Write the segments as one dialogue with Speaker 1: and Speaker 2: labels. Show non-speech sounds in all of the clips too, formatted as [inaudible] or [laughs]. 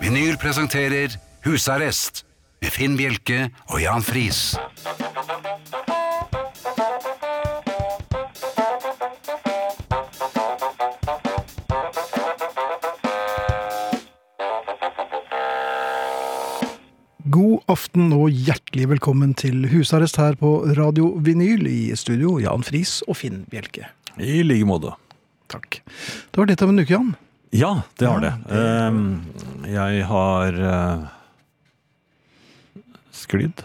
Speaker 1: Vinyl presenterer Husarrest med Finn Bjelke og Jan Friis.
Speaker 2: God aften og hjertelig velkommen til husarrest her på Radio Vinyl. I studio Jan Friis og Finn Bjelke.
Speaker 3: I like måte.
Speaker 2: Takk. Det var litt av en uke, Jan.
Speaker 3: Ja, det
Speaker 2: Ja,
Speaker 3: har det. Ehm, jeg har eh, sklidd.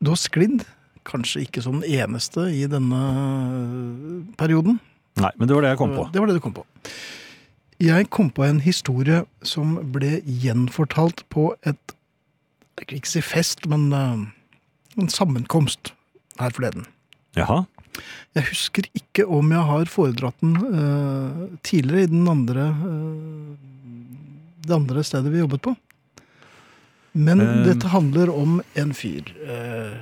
Speaker 2: Du har sklidd. Kanskje ikke som den eneste i denne eh, perioden.
Speaker 3: Nei, men det var det jeg kom på.
Speaker 2: Det var det du kom på. Jeg kom på en historie som ble gjenfortalt på et Jeg vil ikke si fest, men eh, en sammenkomst her forleden.
Speaker 3: Jaha.
Speaker 2: Jeg husker ikke om jeg har foredratt den eh, tidligere i den andre, eh, det andre stedet vi jobbet på. Men
Speaker 3: Eh.
Speaker 2: dette handler om en fyr eh,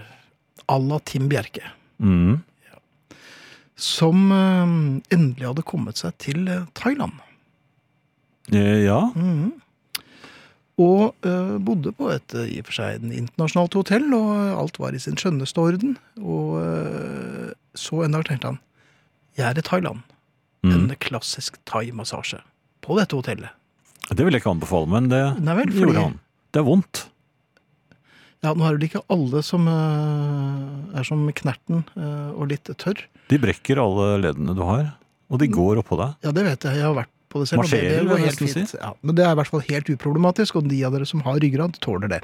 Speaker 2: à la Tim Bjerke.
Speaker 3: Mm.
Speaker 2: Som eh, endelig hadde kommet seg til eh, Thailand.
Speaker 3: Eh, ja.
Speaker 2: Mhm. Og eh, bodde på et eh, i og for seg en internasjonalt hotell, og eh, alt var i sin skjønneste orden. Og eh, så en dag tenkte han jeg er i Thailand.
Speaker 3: Mm.
Speaker 2: en klassisk thai-massasje på dette hotellet.
Speaker 3: Det vil jeg ikke anbefale, men det
Speaker 2: Nei vel, fordi-
Speaker 3: gjorde han. Det er vondt.
Speaker 2: Ja, Nå er det vel ikke alle som eh, er som Knerten eh, og litt tørr.
Speaker 3: De brekker alle leddene du har, og
Speaker 2: Mm.
Speaker 3: de går oppå deg.
Speaker 2: Ja, det vet jeg. Jeg har vært på det selv. og
Speaker 3: Marsjerer,
Speaker 2: det, det
Speaker 3: vil jeg
Speaker 2: helt
Speaker 3: nesten
Speaker 2: fint.
Speaker 3: si.
Speaker 2: Ja, men det er i hvert fall helt uproblematisk, og de av dere som har ryggrad, tåler det.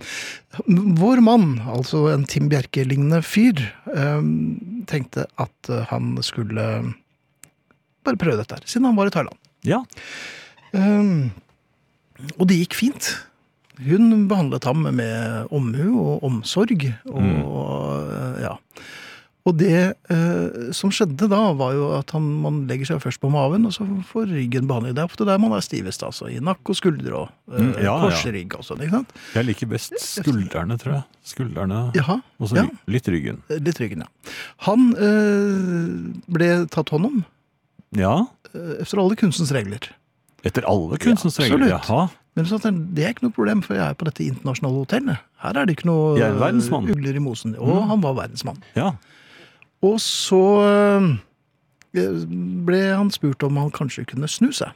Speaker 2: Vår mann, altså en Tim Bjerke-lignende fyr, eh, tenkte at eh, han skulle bare prøve dette her, siden han var i Thailand.
Speaker 3: Ja.
Speaker 2: Ehm, og det gikk fint. Hun behandlet ham med omhu og omsorg. Og,
Speaker 3: Mm.
Speaker 2: eh, ja. og det eh, som skjedde da, var jo at han, man legger seg først på maven, og så får ryggen behandling. Det er ofte der man er stivest, altså. I nakke og skuldre og eh,
Speaker 3: Mm, ja, ja.
Speaker 2: korsrygg og sånn. ikke sant?
Speaker 3: Jeg liker best skuldrene, tror jeg. Skuldrene
Speaker 2: Jaha,
Speaker 3: og så
Speaker 2: ja.
Speaker 3: li- litt ryggen.
Speaker 2: Litt ryggen, ja. Han eh, ble tatt hånd om
Speaker 3: Ja.
Speaker 2: eh, etter alle kunstens regler.
Speaker 3: Etter alle kunstens regler.
Speaker 2: absolutt.
Speaker 3: Jaha.
Speaker 2: Men så sa han, det er ikke noe problem, for jeg er på dette internasjonale hotellet. Her er det ikke noe
Speaker 3: Jeg er verdensmann. Mm.
Speaker 2: eh, ugler i mosen. Og han var verdensmann.
Speaker 3: Ja.
Speaker 2: Og så eh, ble han spurt om han kanskje kunne snu seg.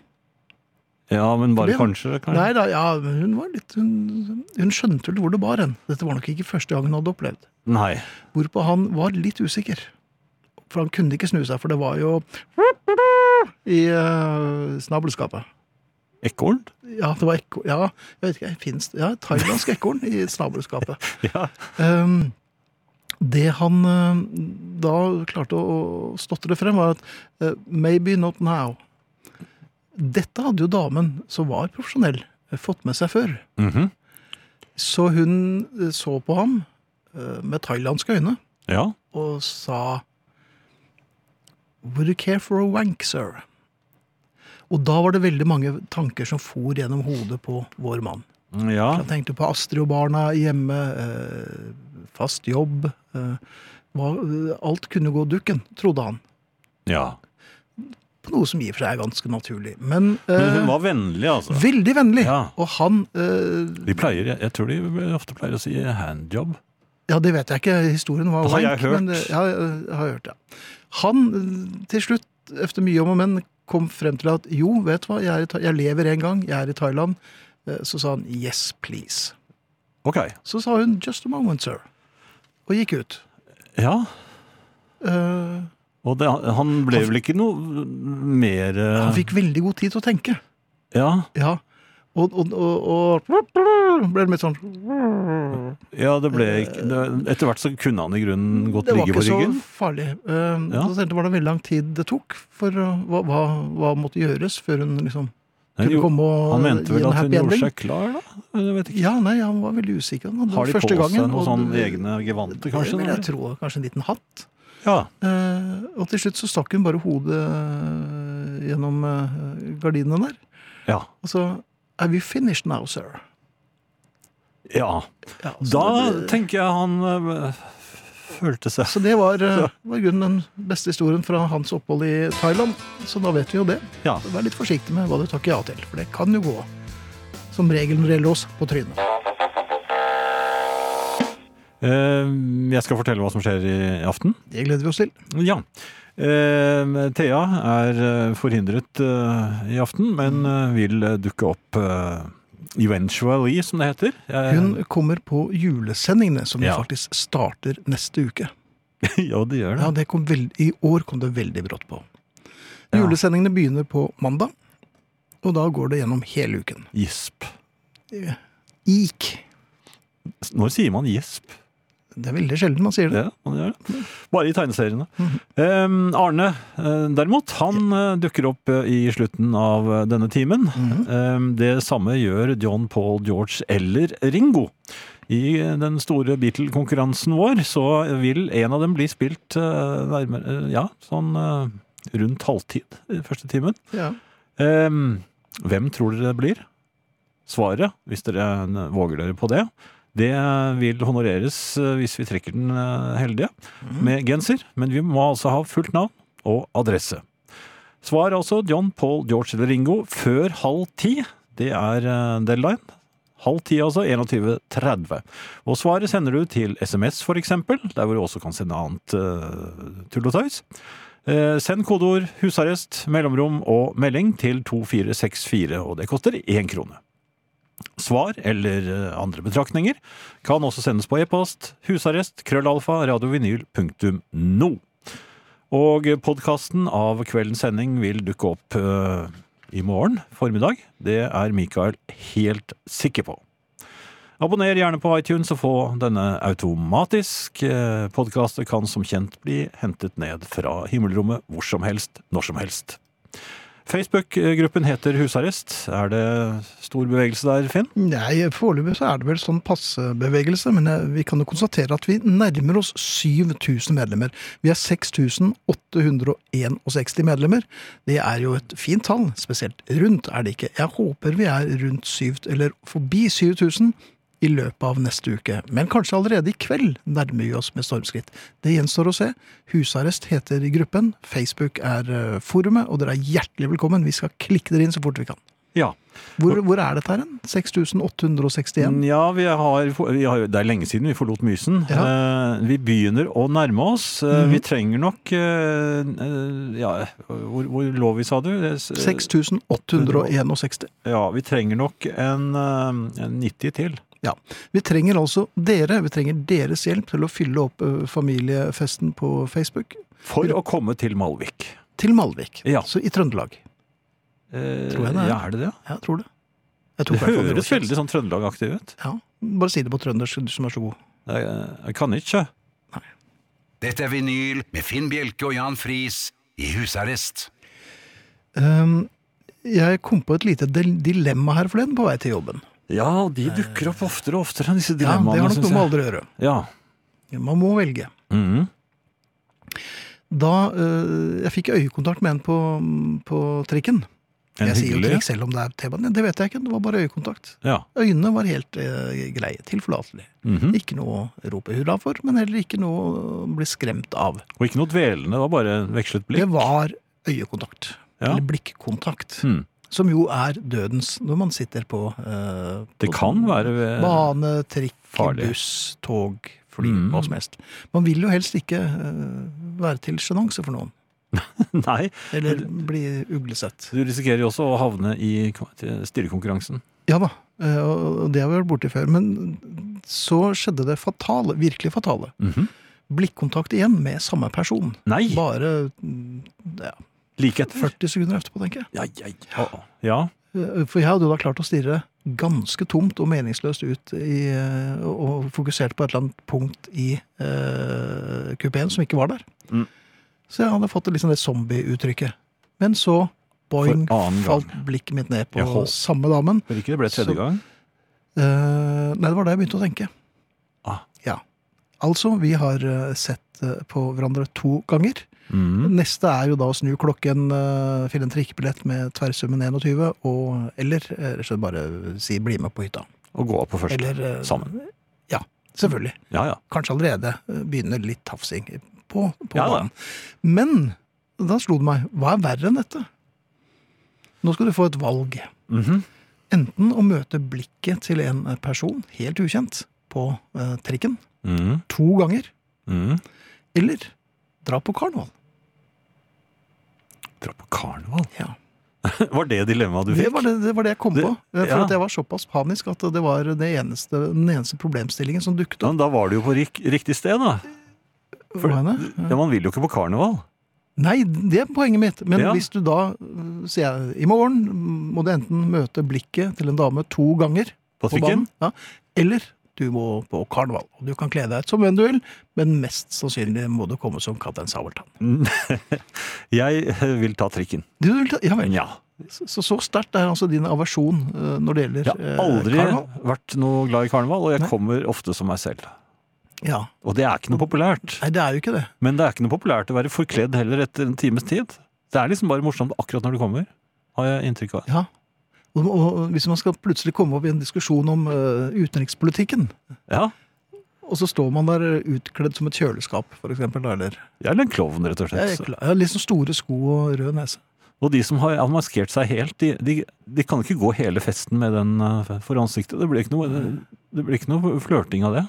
Speaker 3: ja, men bare
Speaker 2: Fordi han-
Speaker 3: kanskje.
Speaker 2: Nei
Speaker 3: kanskje.
Speaker 2: da, ja, men hun var litt Hun, hun skjønte vel hvor det bar hen. Dette var nok ikke første gang hun hadde opplevd.
Speaker 3: Nei.
Speaker 2: Hvorpå han var litt usikker. For han kunne ikke snu seg, for det var jo i eh, snabelskapet.
Speaker 3: Ekorn?
Speaker 2: Ja, det var ekko... Ja, jeg vet ikke, finnes det Ja, thailandsk ekorn i snabelskapet.
Speaker 3: Ja.
Speaker 2: Ehm, det han eh, da klarte å stotre frem, var at eh, Maybe not now. Dette hadde jo damen, som var profesjonell, eh, fått med seg før.
Speaker 3: Mhm.
Speaker 2: Så hun eh, så på ham eh, med thailandske øyne
Speaker 3: Ja.
Speaker 2: og sa Would you care for a wank, sir? Og da var det veldig mange tanker som for gjennom hodet på vår mann.
Speaker 3: Ja.
Speaker 2: Jeg tenkte på Astrid og barna hjemme, eh, fast jobb. eh, hva- Alt kunne gå dukken, trodde han.
Speaker 3: Ja.
Speaker 2: På noe som i og for seg er ganske naturlig. Men,
Speaker 3: Men
Speaker 2: eh,
Speaker 3: hun var vennlig, altså.
Speaker 2: veldig vennlig.
Speaker 3: Ja.
Speaker 2: Og han eh,
Speaker 3: De pleier, jeg, jeg tror de ofte pleier å si handjob.
Speaker 2: Ja, det vet jeg ikke. Historien var
Speaker 3: Det har Altså, jeg hørt.
Speaker 2: men det- ja, jeg har hørt det. Han, eh, til slutt, efter mye om og men, kom frem til at jo, vet du hva, jeg, er i, Tha- jeg lever en gang, jeg er i Thailand. Eh, Så sa han yes, please.
Speaker 3: Ok.
Speaker 2: Så sa hun just a moment, sir. Og gikk ut.
Speaker 3: Ja.
Speaker 2: Eh,
Speaker 3: Og det, han ble vel ikke noe mer eh,
Speaker 2: Han fikk veldig god tid til å tenke.
Speaker 3: Ja.
Speaker 2: Ja. Og, og, og, og ble det litt sånn
Speaker 3: ja, det ble ikke det- Etter hvert så kunne han i grunnen godt
Speaker 2: Eh, Det var
Speaker 3: ligge
Speaker 2: ikke
Speaker 3: på
Speaker 2: så
Speaker 3: ryggen.
Speaker 2: farlig. Um,
Speaker 3: Ja.
Speaker 2: Så tenkte jeg var det veldig lang tid det tok. For uh, hva, hva, hva måtte gjøres før hun liksom
Speaker 3: Han
Speaker 2: kunne
Speaker 3: gjorde-
Speaker 2: komme og
Speaker 3: han
Speaker 2: gi
Speaker 3: mente vel
Speaker 2: en
Speaker 3: at hun
Speaker 2: happy
Speaker 3: gjorde
Speaker 2: ending?
Speaker 3: seg klar, da? Jeg vet ikke.
Speaker 2: Ja, nei, han var veldig usikker. Han hadde
Speaker 3: Har de på
Speaker 2: første gangen,
Speaker 3: seg noen
Speaker 2: og-
Speaker 3: sånne egne gevanter, kanskje?
Speaker 2: Det vil jeg
Speaker 3: da?
Speaker 2: tro. Kanskje en liten hatt.
Speaker 3: Ja.
Speaker 2: Eh, og til slutt så stakk hun bare hodet eh, gjennom eh, gardinene der.
Speaker 3: ja.
Speaker 2: Og så Are we finished now, sir?
Speaker 3: Ja.
Speaker 2: Ja, så
Speaker 3: Da
Speaker 2: det-
Speaker 3: tenker jeg han eh, følte seg
Speaker 2: Så det var, eh, var i grunnen den beste historien fra hans opphold i Thailand. Så da vet vi jo det.
Speaker 3: Ja.
Speaker 2: Vær litt forsiktig med hva du takker ja til, for det kan jo gå som regel når det gjelder oss, på trynet.
Speaker 3: Eh, Jeg skal fortelle hva som skjer i aften.
Speaker 2: Det gleder vi oss til.
Speaker 3: Ja. Eh, Thea er eh, forhindret eh, i aften, men eh, vil eh, dukke opp eh, eventually, som det heter. Eh,
Speaker 2: Hun kommer på julesendingene, som
Speaker 3: Ja.
Speaker 2: jo faktisk starter neste uke.
Speaker 3: [laughs] Ja, det gjør det.
Speaker 2: Ja, det kom veld... I år kom det veldig brått på.
Speaker 3: Ja.
Speaker 2: Julesendingene begynner på mandag, og da går det gjennom hele uken.
Speaker 3: Gisp.
Speaker 2: Ik.
Speaker 3: Når sier man gisp?
Speaker 2: Det er veldig sjelden man sier det.
Speaker 3: Ja, man gjør det. Bare i tegneseriene. Eh, Arne, eh, derimot, han eh, dukker opp eh, i slutten av eh, denne timen. Eh, det samme gjør John Paul George eller Ringo. I eh, den store Beatle-konkurransen vår så vil en av dem bli spilt eh, nærmere eh, Ja, sånn eh, rundt halvtid i første timen.
Speaker 2: Ja.
Speaker 3: Eh, hvem tror dere det blir? Svaret, hvis dere eh, våger dere på det, det vil honoreres eh, hvis vi trekker den eh, heldige med genser, men vi må altså ha fullt navn og adresse. Svar altså John, Paul, George eller Ringo før halv ti. Det er eh, deadline. Halv ti, altså. 21.30. Og svaret sender du til SMS, for eksempel, der hvor du også kan sende annet eh, tull og tøys. Eh, send kodeord 'husarrest', mellomrom og melding til 2464, og det koster én krone. Svar eller eh, andre betraktninger kan også sendes på e-post husarrest krøllalfa radiovinyl.no. Og podkasten av kveldens sending vil dukke opp eh, i morgen formiddag. Det er Mikael helt sikker på. Abonner gjerne på iTunes og få denne automatisk. Eh, Podkaster kan som kjent bli hentet ned fra himmelrommet hvor som helst, når som helst. Facebook-gruppen heter Husarrest. Er det stor bevegelse der, Finn?
Speaker 2: Nei, foreløpig så er det vel sånn passebevegelse, men eh, vi kan jo konstatere at vi nærmer oss 7000 medlemmer. Vi er 6861 medlemmer. Det er jo et fint tall, spesielt rundt er det ikke. Jeg håper vi er rundt 7, eller forbi 7000 i løpet av neste uke. Men kanskje allerede i kveld nærmer vi oss med stormskritt. Det gjenstår å se. Husarrest heter gruppen, Facebook er eh, forumet, og dere er hjertelig velkommen. Vi skal klikke dere inn så fort vi kan.
Speaker 3: Ja.
Speaker 2: Hvor, hvor er dette her hen? 6861?
Speaker 3: Ja, vi har, vi har, det er lenge siden vi forlot Mysen. Eh, vi begynner å nærme oss. Eh, Vi trenger nok eh, eh, ja, hvor, hvor lå vi, sa du? Eh, s-
Speaker 2: 6861.
Speaker 3: Ja, vi trenger nok en, eh, en 90 til.
Speaker 2: Ja. Vi trenger altså dere. Vi trenger deres hjelp til å fylle opp ø, familiefesten på Facebook
Speaker 3: For å komme til Malvik.
Speaker 2: til Malvik.
Speaker 3: Ja.
Speaker 2: Så i Trøndelag.
Speaker 3: Eh,
Speaker 2: Tror jeg det er.
Speaker 3: Ja, er det det?
Speaker 2: Jeg tror det. Jeg
Speaker 3: Det
Speaker 2: tok hvertfall
Speaker 3: høres
Speaker 2: var kjent.
Speaker 3: veldig sånn Trøndelag-aktig ut.
Speaker 2: Ja. Bare si det på trøndersk, du som er så god.
Speaker 3: Eh, Jeg kan ikke.
Speaker 1: Dette er vinyl med Finn Bjelke og Jan Friis i husarrest.
Speaker 2: Ehm, jeg kom på et lite del- dilemma her forleden på vei til jobben.
Speaker 3: Ja, de dukker opp oftere og oftere,
Speaker 2: Ja,
Speaker 3: disse
Speaker 2: det har
Speaker 3: dilemmaene,
Speaker 2: nok
Speaker 3: syns
Speaker 2: noe med
Speaker 3: jeg.
Speaker 2: alder å gjøre.
Speaker 3: Ja.
Speaker 2: Man må velge.
Speaker 3: Mhm.
Speaker 2: Da ø, Jeg fikk øyekontakt med en på, på trikken.
Speaker 3: En
Speaker 2: jeg sier jo
Speaker 3: hyggelig
Speaker 2: trikk selv om det er T-banen. Det vet jeg ikke, det var bare øyekontakt.
Speaker 3: Ja.
Speaker 2: Øynene var helt eh, greie, tilforlatelige.
Speaker 3: Mhm.
Speaker 2: Ikke noe å rope hurra for, men heller ikke noe å bli skremt av.
Speaker 3: Og ikke noe dvelende, det var bare vekslet blikk.
Speaker 2: Det var øyekontakt,
Speaker 3: Ja.
Speaker 2: eller blikkontakt,
Speaker 3: Mhm.
Speaker 2: som jo er dødens når man sitter på, eh,
Speaker 3: Det
Speaker 2: på
Speaker 3: kan være ved-
Speaker 2: Bane, trikk,
Speaker 3: farlig.
Speaker 2: buss, tog, fly,
Speaker 3: Mhm.
Speaker 2: hva som helst. Man vil jo helst ikke eh, være til sjenanse for noen,
Speaker 3: [laughs] Nei,
Speaker 2: eller bli uglesett.
Speaker 3: du risikerer jo også å havne i styrekonkurransen.
Speaker 2: Ja da, eh, og det har vi vært borti før. Men så skjedde det fatale, virkelig fatale.
Speaker 3: Mhm.
Speaker 2: Blikkontakt igjen med samme person.
Speaker 3: Nei!
Speaker 2: Bare mm, ja,
Speaker 3: Like etter.
Speaker 2: 40 sekunder etterpå, tenker jeg.
Speaker 3: Ja, ja, ja. ja.
Speaker 2: Eh, For jeg hadde jo da klart å stirre ganske tomt og meningsløst ut i, eh, og- og fokusert på et eller annet punkt i eh, kupeen som ikke var der.
Speaker 3: Mm.
Speaker 2: Så jeg hadde fått liksom det zombie-uttrykket. Men så, boing,
Speaker 3: For annen gang.
Speaker 2: falt blikket mitt ned
Speaker 3: Jeg
Speaker 2: på
Speaker 3: håper-
Speaker 2: samme damen.
Speaker 3: Men ikke det ble tredje
Speaker 2: Så-
Speaker 3: gang?
Speaker 2: Eh, nei, det var da jeg begynte å tenke.
Speaker 3: Ah.
Speaker 2: Ja. Altså, vi har eh, sett eh, på hverandre to ganger.
Speaker 3: Mhm.
Speaker 2: Neste er jo da å snu klokken, eh, finne en trikkebillett med tverrsummen 21, og, eller eh, rett og slett bare si 'bli med på hytta'.
Speaker 3: Å gå av på første.
Speaker 2: Eller eh,
Speaker 3: Sammen.
Speaker 2: Ja, selvfølgelig.
Speaker 3: Ja, ja.
Speaker 2: Kanskje allerede eh, begynner litt tafsing på, på
Speaker 3: Ja da.
Speaker 2: banen. Men da slo det meg, hva er verre enn dette? Nå skal du få et valg.
Speaker 3: Mhm.
Speaker 2: Enten å møte blikket til en person, helt ukjent, på eh, trikken
Speaker 3: Mm,
Speaker 2: to ganger,
Speaker 3: mm.
Speaker 2: eller dra på karneval.
Speaker 3: Dra på karneval.
Speaker 2: Ja.
Speaker 3: [laughs] Var det dilemmaet du
Speaker 2: Det
Speaker 3: fikk?
Speaker 2: var det, det var det jeg kom
Speaker 3: Det-
Speaker 2: på. eh, For
Speaker 3: ja.
Speaker 2: at jeg var såpass panisk at det var det eneste, den eneste problemstillingen som dukket
Speaker 3: Ja,
Speaker 2: opp.
Speaker 3: men da var du jo på rik riktig sted, da. for-
Speaker 2: for henne.
Speaker 3: Ja, Man vil jo ikke på karneval.
Speaker 2: Nei, det er poenget mitt. Men
Speaker 3: Ja.
Speaker 2: hvis du da øh, sier jeg, i morgen må du enten møte blikket til en dame to ganger
Speaker 3: På
Speaker 2: på
Speaker 3: trikken.
Speaker 2: banen, ja, eller du må på karneval. Og du kan kle deg ut som hvem du vil, men mest sannsynlig må du komme som Kaptein Sabeltann.
Speaker 3: [laughs] Jeg eh, vil ta trikken.
Speaker 2: Du vil ta, ja vel.
Speaker 3: Ja.
Speaker 2: Så, så sterkt er altså din aversjon øh, når det gjelder
Speaker 3: Jeg
Speaker 2: øh,
Speaker 3: har aldri
Speaker 2: karneval.
Speaker 3: vært noe glad i karneval, og jeg
Speaker 2: Nei.
Speaker 3: kommer ofte som meg selv.
Speaker 2: Ja.
Speaker 3: Og det er ikke noe populært.
Speaker 2: Nei, det er jo ikke det.
Speaker 3: Men det er ikke noe populært å være forkledd heller etter en times tid. Det er liksom bare morsomt akkurat når du kommer, har jeg inntrykk av.
Speaker 2: Ja. Og, og hvis man skal plutselig komme opp i en diskusjon om øh, utenrikspolitikken,
Speaker 3: Ja,
Speaker 2: og så står man der øh, utkledd som et kjøleskap, for eksempel, da, eller
Speaker 3: jeg er en klovn, rett og
Speaker 2: Ja, jeg er
Speaker 3: slett.
Speaker 2: klar. Jeg har liksom store sko og rød nese.
Speaker 3: Og de som har maskert seg helt, de, de, de kan ikke gå hele festen med den eh, for ansiktet. Det blir ikke noe, det blir ikke noe flørting av det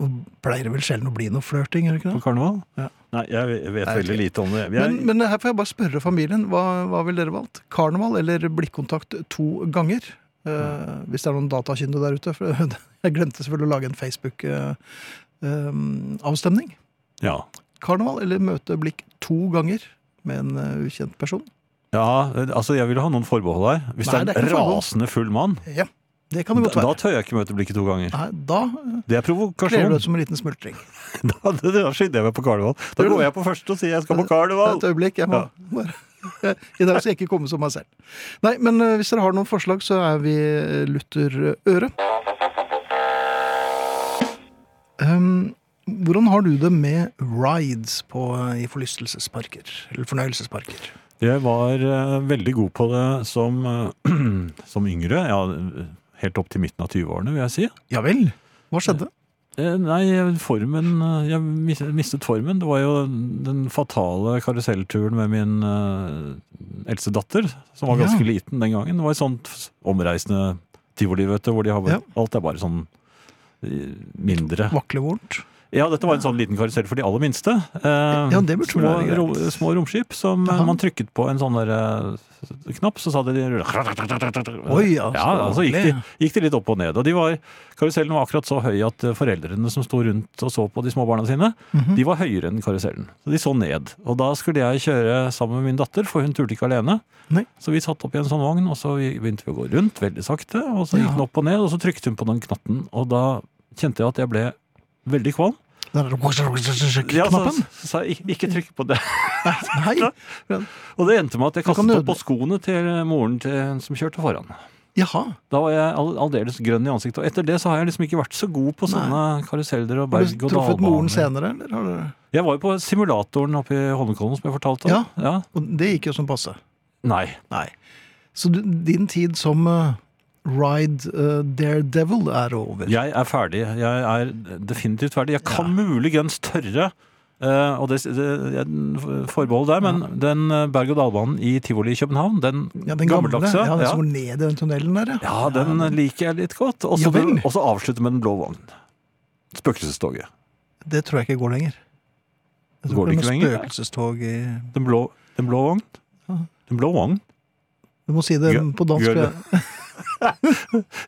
Speaker 2: Og pleier det vel sjelden å bli noe flørting, gjør det ikke
Speaker 3: på
Speaker 2: det?
Speaker 3: karneval.
Speaker 2: Ja.
Speaker 3: Nei, jeg vet
Speaker 2: Nei,
Speaker 3: veldig lite om det. Jeg,
Speaker 2: Men, men her får jeg bare spørre familien. Hva, hva ville dere valgt? Karneval eller blikkontakt to ganger? Eh,
Speaker 3: Mm.
Speaker 2: hvis det er noen datakyndige der ute. For [laughs] jeg glemte selvfølgelig å lage en eh, Facebook-avstemning.
Speaker 3: ja.
Speaker 2: Karneval eller møte blikk to ganger med en eh, ukjent person?
Speaker 3: ja, altså jeg vil ha noen forbehold her. Hvis
Speaker 2: Nei,
Speaker 3: det
Speaker 2: det er ikke
Speaker 3: er en
Speaker 2: noe forbehold.
Speaker 3: rasende full mann,
Speaker 2: Ja, det kan
Speaker 3: da,
Speaker 2: det godt
Speaker 3: da
Speaker 2: være.
Speaker 3: tør jeg ikke møte blikket to ganger.
Speaker 2: Nei, da eh,
Speaker 3: Det
Speaker 2: kler
Speaker 3: er
Speaker 2: du
Speaker 3: provokasjon.
Speaker 2: deg ut som en liten smultring.
Speaker 3: [laughs] Da, da skynder jeg meg på karneval. Da
Speaker 2: Gjør du
Speaker 3: går
Speaker 2: det?
Speaker 3: jeg på første og sier jeg skal på
Speaker 2: Et
Speaker 3: karneval.
Speaker 2: øyeblikk. Jeg må
Speaker 3: Ja.
Speaker 2: bare [laughs] I dag skal jeg ikke komme som meg selv. Nei, men eh, hvis dere har noen forslag, så er vi Luther Øre. Ehm, hvordan har du det med rides på, eh, i forlystelsesparker? Eller fornøyelsesparker?
Speaker 3: Jeg var eh, veldig god på det som, eh, [clears throat] som yngre. Ja, helt opp til midten av 20-årene, vil jeg si.
Speaker 2: Ja vel? Hva skjedde?
Speaker 3: Eh, Nei, formen eh, Jeg mis- mistet formen. Det var jo den fatale karusellturen med min eh, eldste datter, som var ganske
Speaker 2: Ja.
Speaker 3: liten den gangen. Det var et sånt omreisende tivoli, vet du, hvor de har
Speaker 2: Ja.
Speaker 3: alt er bare sånn eh, mindre.
Speaker 2: Vaklevorent?
Speaker 3: Ja, dette var en sånn liten karusell for de aller minste. Eh,
Speaker 2: Ja, det burde
Speaker 3: små,
Speaker 2: være greit.
Speaker 3: ro- små romskip som eh,
Speaker 2: Jaha.
Speaker 3: man trykket på en sånn der eh, knapp, så sa det de Oi,
Speaker 2: Oi, ja,
Speaker 3: ja,
Speaker 2: så
Speaker 3: så gikk de,
Speaker 2: ordentlig.
Speaker 3: gikk de litt opp og ned. Og de var, karusellen var akkurat så høy at eh, foreldrene som sto rundt og så på de små barna sine,
Speaker 2: Mhm.
Speaker 3: de var høyere enn karusellen. Så de så ned. Og da skulle jeg kjøre sammen med min datter, for hun turte ikke alene.
Speaker 2: Nei.
Speaker 3: Så vi satt opp i en sånn vogn, og så vi- begynte vi å gå rundt veldig sakte. Og så gikk
Speaker 2: Ja.
Speaker 3: den opp og ned, og så trykte hun på den knatten. Og da kjente jeg at jeg ble veldig kvalm.
Speaker 2: Den
Speaker 3: Ja, så, [laughs]
Speaker 2: knappen?
Speaker 3: så sa jeg "Ik- ikke trykk på det. [laughs]
Speaker 2: Nei!
Speaker 3: Og det endte med at jeg
Speaker 2: Du kan
Speaker 3: kastet opp
Speaker 2: nød-
Speaker 3: på skoene til moren til hun som kjørte foran.
Speaker 2: Jaha.
Speaker 3: Da var jeg all- aldeles grønn i ansiktet. Og etter det så har jeg liksom ikke vært så god på sånne karuseller og
Speaker 2: Har du
Speaker 3: berg- og
Speaker 2: truffet moren
Speaker 3: dalbaner.
Speaker 2: senere, eller? Har du...
Speaker 3: Jeg var jo på simulatoren oppe i Holmenkollen, som jeg fortalte om.
Speaker 2: Ja. Og det gikk jo som passe.
Speaker 3: Nei.
Speaker 2: Nei. Så du, din tid som eh, Ride eh, Daredevil er over?
Speaker 3: Jeg er ferdig. Jeg er definitivt ferdig. Jeg kan muligens tørre eh, og det, det jeg- Forbehold der, men den eh, berg-og-dal-banen i Tivoli i København, den,
Speaker 2: Ja, den gamle.
Speaker 3: gammeldagse
Speaker 2: ja, den
Speaker 3: ja.
Speaker 2: som går ned i den tunnelen der, ja.
Speaker 3: Ja, den liker jeg litt godt. Og så
Speaker 2: Ja vel.
Speaker 3: og så avslutte med den blå vognen. Spøkelsestoget.
Speaker 2: Det tror jeg ikke går lenger. Jeg tror
Speaker 3: Går det
Speaker 2: er noe
Speaker 3: ikke lenger?
Speaker 2: Spøkelsestog i
Speaker 3: Den blå, den blå vogn?
Speaker 2: Ja.
Speaker 3: Den blå vogn?
Speaker 2: Du må si det
Speaker 3: Gjør-
Speaker 2: på dansk. for
Speaker 3: gjør det.
Speaker 2: jeg-
Speaker 3: Ja,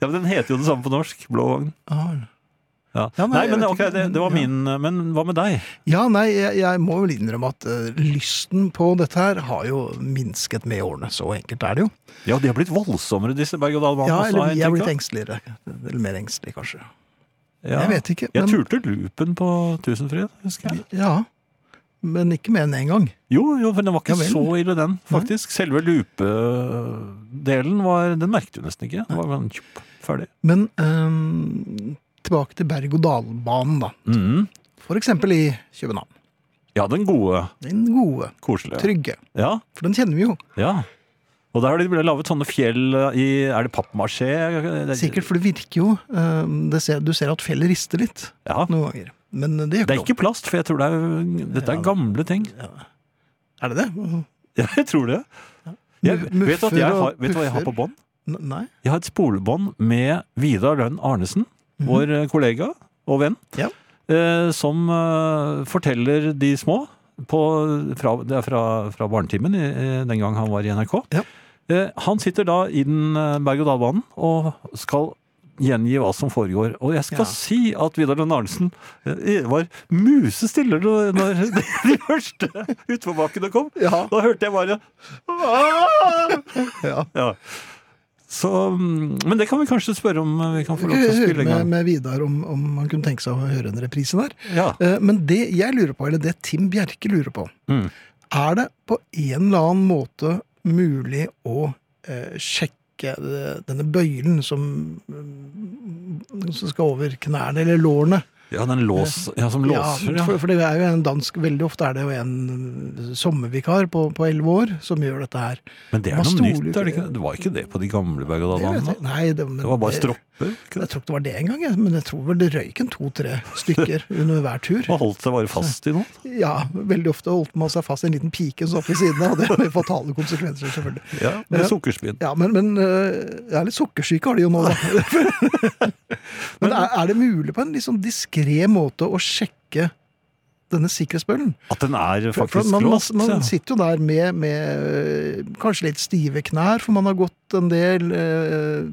Speaker 3: men Den heter jo det samme på norsk. Blå vogn.
Speaker 2: Ah.
Speaker 3: Ja.
Speaker 2: Ja,
Speaker 3: nei,
Speaker 2: nei, jeg
Speaker 3: men
Speaker 2: vet
Speaker 3: ok,
Speaker 2: ikke.
Speaker 3: det, det var
Speaker 2: Ja.
Speaker 3: min eh, Men hva med deg?
Speaker 2: Ja, nei, jeg, jeg må vel innrømme at eh, lysten på dette her har jo minsket med årene. Så enkelt er det jo.
Speaker 3: Ja, de har blitt voldsommere, disse berg-og-dal-banene.
Speaker 2: Ja,
Speaker 3: også, har
Speaker 2: eller
Speaker 3: jeg
Speaker 2: jeg er
Speaker 3: inntrykk
Speaker 2: blitt
Speaker 3: av.
Speaker 2: engsteligere. Eller mer engstelig, kanskje.
Speaker 3: Ja.
Speaker 2: Jeg vet ikke.
Speaker 3: Jeg
Speaker 2: Men,
Speaker 3: turte loopen på Tusenfryd, husker jeg.
Speaker 2: ja, men ikke mer enn én gang.
Speaker 3: Jo, jo, for den var ikke
Speaker 2: Ja vel.
Speaker 3: så ille, den, faktisk. Selve loopedelen var Den merket du nesten ikke. Det var bare tjup, ferdig.
Speaker 2: Men ehm, tilbake til berg-og-dal-banen, da.
Speaker 3: Mhm.
Speaker 2: For eksempel i København.
Speaker 3: Ja, den gode.
Speaker 2: Den gode,
Speaker 3: Koselige.
Speaker 2: trygge.
Speaker 3: Ja.
Speaker 2: For den kjenner vi jo.
Speaker 3: Ja. Og der har de laget sånne fjell eh, i Er det pappmasjé?
Speaker 2: Sikkert, for det virker jo ehm, det ser, Du ser at fjellet rister litt
Speaker 3: Ja.
Speaker 2: noen ganger. Men eh, det gjør
Speaker 3: Det er
Speaker 2: ikke noe.
Speaker 3: ikke plast, for jeg tror det er, dette er
Speaker 2: Ja.
Speaker 3: gamle ting. [laughs]
Speaker 2: Er det det?
Speaker 3: Ja, jeg tror det. Jeg,
Speaker 2: Mu-
Speaker 3: vet du at
Speaker 2: muffer
Speaker 3: jeg
Speaker 2: og
Speaker 3: har, vet du hva jeg har
Speaker 2: puffer.
Speaker 3: på bånd?
Speaker 2: N nei?
Speaker 3: Jeg har et spolebånd med Vidar Lønn Arnesen,
Speaker 2: Mhm.
Speaker 3: vår eh, kollega og venn, [laughs]
Speaker 2: Ja.
Speaker 3: eh, som eh, forteller de små på, fra, Det er fra, fra barnetimen i- i- den gang han var i NRK.
Speaker 2: Ja.
Speaker 3: Eh, han sitter da i den eh, berg-og-dal-banen og skal gjengi hva som foregår. Og jeg skal
Speaker 2: Ja.
Speaker 3: si at Vidar Lønn Arnesen eh, var musestille når når [laughs] de første utforbakkene kom.
Speaker 2: Ja.
Speaker 3: Da hørte jeg bare Aah!
Speaker 2: ja.
Speaker 3: Ja. Så, mm, men det kan vi kanskje spørre om eh, vi kan få lov til å
Speaker 2: Høre
Speaker 3: spille en
Speaker 2: med,
Speaker 3: gang.
Speaker 2: med Vidar om, om han kunne tenke seg å høre en reprise der.
Speaker 3: Ja.
Speaker 2: Eh, Men det jeg lurer på, eller det Tim Bjerke lurer på,
Speaker 3: Mm.
Speaker 2: er det på en eller annen måte mulig å eh, sjekke eh, denne bøylen som, eh, som skal over knærne eller lårene?
Speaker 3: ja, den lås, ja, som låser,
Speaker 2: ja. For,
Speaker 3: ja.
Speaker 2: for det er jo en dansk, veldig ofte er det jo en sommervikar på elleve år som gjør dette her.
Speaker 3: Men det er
Speaker 2: Man
Speaker 3: noe
Speaker 2: stoler jo
Speaker 3: nytt, er det
Speaker 2: ikke-
Speaker 3: ikke? Det var ikke det på de gamle
Speaker 2: Det vet
Speaker 3: berg-og-dal-banene?
Speaker 2: jeg- Nei, det, men,
Speaker 3: Det var bare
Speaker 2: det-
Speaker 3: stropper? ikke
Speaker 2: Jeg
Speaker 3: det?
Speaker 2: tror ikke det var det engang, jeg, men jeg tror vel det røyk en to-tre stykker
Speaker 3: [laughs]
Speaker 2: under hver tur.
Speaker 3: Man holdt seg bare fast i noe?
Speaker 2: Ja, veldig ofte holdt man seg fast i en liten pike som satt ved siden av, og det har fatale konsekvenser, selvfølgelig.
Speaker 3: Ja, med
Speaker 2: Ja.
Speaker 3: sukkerspinn.
Speaker 2: Ja, men, men øh, jeg er litt sukkersyke har de jo nå, da.
Speaker 3: [laughs]
Speaker 2: men er, er det mulig på en litt sånn diskré måte å sjekke denne sikkerhetsbøllen?
Speaker 3: At den er
Speaker 2: For, for
Speaker 3: faktisk
Speaker 2: man,
Speaker 3: låst?
Speaker 2: man,
Speaker 3: ja.
Speaker 2: man sitter jo der med, med øh, kanskje litt stive knær, for man har gått en del øh,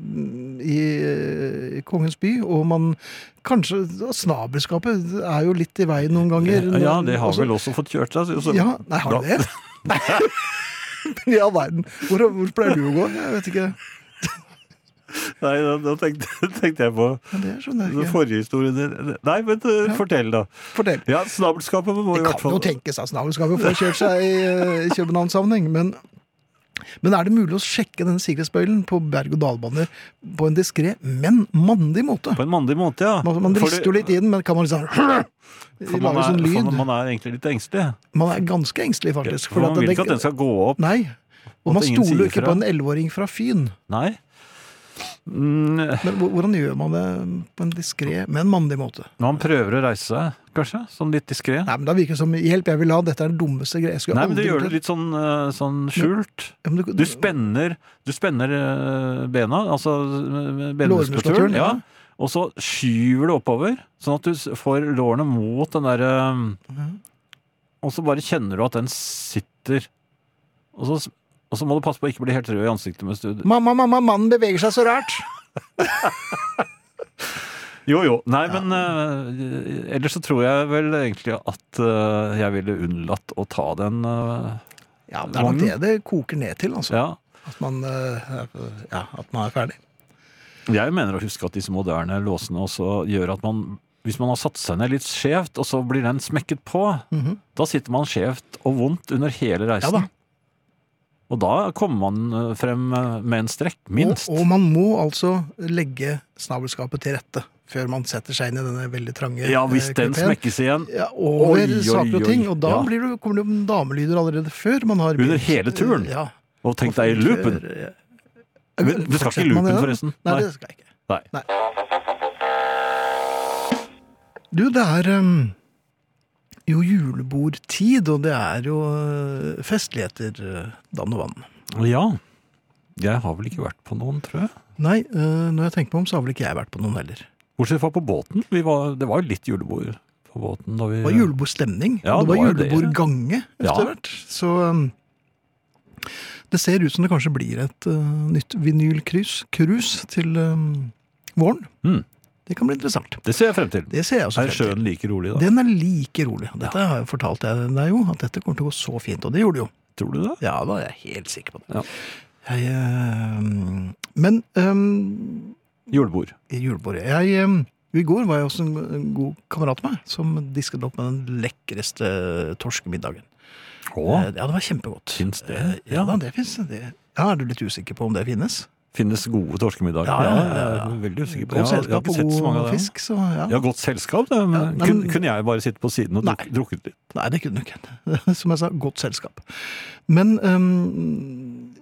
Speaker 2: i, øh, i Kongens by, og man kanskje og Snabelskapet er jo litt i veien noen ganger.
Speaker 3: Ja, det har
Speaker 2: Altså,
Speaker 3: vel også fått kjørt seg. så-
Speaker 2: ja, nei, har du
Speaker 3: Da-
Speaker 2: det? [laughs] Nei. I all verden. Hvor, hvor pleier du å gå? Jeg vet ikke.
Speaker 3: Nei, da, da tenkte, [laughs] tenkte jeg på
Speaker 2: Ja, det skjønner
Speaker 3: den
Speaker 2: jeg ikke.
Speaker 3: forrige historien din. Nei, men eh,
Speaker 2: Ja.
Speaker 3: fortell, da.
Speaker 2: Fortell.
Speaker 3: Ja, Snabelskapet må i
Speaker 2: Det
Speaker 3: hvert
Speaker 2: kan
Speaker 3: fall
Speaker 2: jo tenkes at Snabel skal jo få kjørt seg i, eh, i København-sammenheng, men, men er det mulig å sjekke denne sikkerhetsbøylen på berg-og-dal-baner på en diskré, men mandig måte?
Speaker 3: På en mandig måte, ja.
Speaker 2: Man, man
Speaker 3: For
Speaker 2: rister jo
Speaker 3: det-
Speaker 2: litt i den, men kan man liksom [clears throat] lage
Speaker 3: For man er,
Speaker 2: sånn lyd?
Speaker 3: for man er egentlig litt engstelig.
Speaker 2: Man er ganske engstelig, faktisk.
Speaker 3: For man
Speaker 2: at
Speaker 3: vil
Speaker 2: det-
Speaker 3: ikke at den skal gå opp.
Speaker 2: Nei. Og man
Speaker 3: At ingen
Speaker 2: stoler jo
Speaker 3: sier
Speaker 2: ikke
Speaker 3: fra.
Speaker 2: på en elleveåring fra Fyn.
Speaker 3: Nei. Mm,
Speaker 2: Men hvor- hvordan gjør man det på en diskré, men mandig måte?
Speaker 3: man prøver å reise seg, kanskje? Sånn litt diskré? Nei,
Speaker 2: Nei, men Da virker det som 'hjelp, jeg vil ha', dette er den dummeste greia. Jeg skulle
Speaker 3: men du
Speaker 2: aldri
Speaker 3: gjør
Speaker 2: gjort
Speaker 3: det litt sånn, eh, sånn skjult.
Speaker 2: Ja, men du-
Speaker 3: Du spenner, du spenner eh, bena, altså eh,
Speaker 2: Lårmuskulaturen,
Speaker 3: benmuskulaturen, ja.
Speaker 2: ja.
Speaker 3: og så skyver du oppover, sånn at du s- får lårene mot den derre
Speaker 2: Mhm.
Speaker 3: eh, Og så bare kjenner du at den sitter. Og så, s- og så må du passe på å ikke bli helt rød i ansiktet mens du
Speaker 2: Mamma, mamma, mannen beveger seg så rart!
Speaker 3: Jo, jo. Nei, men eh, ellers så tror jeg vel egentlig at eh, jeg ville unnlatt å ta den. eh,
Speaker 2: Ja, Det er nok
Speaker 3: Vognen.
Speaker 2: det det koker ned til, altså.
Speaker 3: ja.
Speaker 2: At, man, eh, ja, at man er ferdig.
Speaker 3: Jeg mener å huske at disse moderne låsene også gjør at man hvis man har satt seg ned litt skjevt, og så blir den smekket på,
Speaker 2: Mhm.
Speaker 3: da sitter man skjevt og vondt under hele
Speaker 2: Ja
Speaker 3: reisen.
Speaker 2: da.
Speaker 3: Og da kommer man eh, frem eh, med en strekk, minst.
Speaker 2: Og, og man må altså legge snabelskapet til rette før man setter seg inn i denne veldig trange
Speaker 3: ja, hvis
Speaker 2: eh,
Speaker 3: den
Speaker 2: kupeen.
Speaker 3: smekkes igjen
Speaker 2: ja, over
Speaker 3: Oi, oi,
Speaker 2: saker og
Speaker 3: oi.
Speaker 2: ting. Og da
Speaker 3: Ja.
Speaker 2: blir det, kommer det jo damelyder allerede før man har
Speaker 3: Under hele turen?
Speaker 2: Ja.
Speaker 3: Og tenk deg i loopen! Men du skal ikke i
Speaker 2: Fortsetter man
Speaker 3: loopen,
Speaker 2: det da?
Speaker 3: forresten.
Speaker 2: Nei,
Speaker 3: Nei.
Speaker 2: det skal jeg ikke.
Speaker 3: Nei.
Speaker 2: Du, det er um, jo julebordtid, og det er jo uh, festligheter, uh, dann og vann.
Speaker 3: Ja. Jeg har vel ikke vært på noen, tror jeg.
Speaker 2: Nei, uh, når jeg tenker meg om, så har vel ikke jeg vært på noen heller.
Speaker 3: Bortsett fra på båten. Vi var, det var jo litt julebord på båten da vi
Speaker 2: Det var julebordstemning,
Speaker 3: Ja,
Speaker 2: og det
Speaker 3: det
Speaker 2: var
Speaker 3: var jo det.
Speaker 2: julebordgange etter
Speaker 3: Ja.
Speaker 2: hvert. Så um, det ser ut som det kanskje blir et uh, nytt vinylkrus krus til um, våren.
Speaker 3: Mm.
Speaker 2: Det kan bli interessant.
Speaker 3: Det ser jeg frem til.
Speaker 2: Det ser jeg også
Speaker 3: Er
Speaker 2: frem til.
Speaker 3: sjøen like rolig da?
Speaker 2: Den er like rolig. Dette har jeg fortalt deg jo, at dette kommer til å gå så fint. Og det gjorde det jo.
Speaker 3: Tror du det?
Speaker 2: Ja, da er jeg helt sikker på det.
Speaker 3: Ja.
Speaker 2: Jeg, eh, men um,
Speaker 3: Julebord.
Speaker 2: julebordet jeg, eh, I går var jeg også en, en god kamerat av meg som disket opp med den lekreste torskemiddagen.
Speaker 3: Å,
Speaker 2: Eh, Ja, det var kjempegodt.
Speaker 3: Finnes det?
Speaker 2: Eh, Ja, da, det fins. Det. Ja, er du litt usikker på om det finnes?
Speaker 3: finnes gode torskemiddager.
Speaker 2: Ja, ja, ja, ja.
Speaker 3: jeg er veldig usikker på
Speaker 2: Godt
Speaker 3: Jeg har-
Speaker 2: selskap
Speaker 3: Jeg har ikke sett så mange
Speaker 2: og
Speaker 3: av
Speaker 2: god
Speaker 3: dem.
Speaker 2: fisk, så ja.
Speaker 3: Ja, godt selskap, det. Men
Speaker 2: Ja, nei,
Speaker 3: kun,
Speaker 2: men-
Speaker 3: kunne jeg bare sitte på siden og druk, drukket litt?
Speaker 2: Nei, det kunne du ikke. [laughs] Som jeg sa, godt selskap. Men øhm,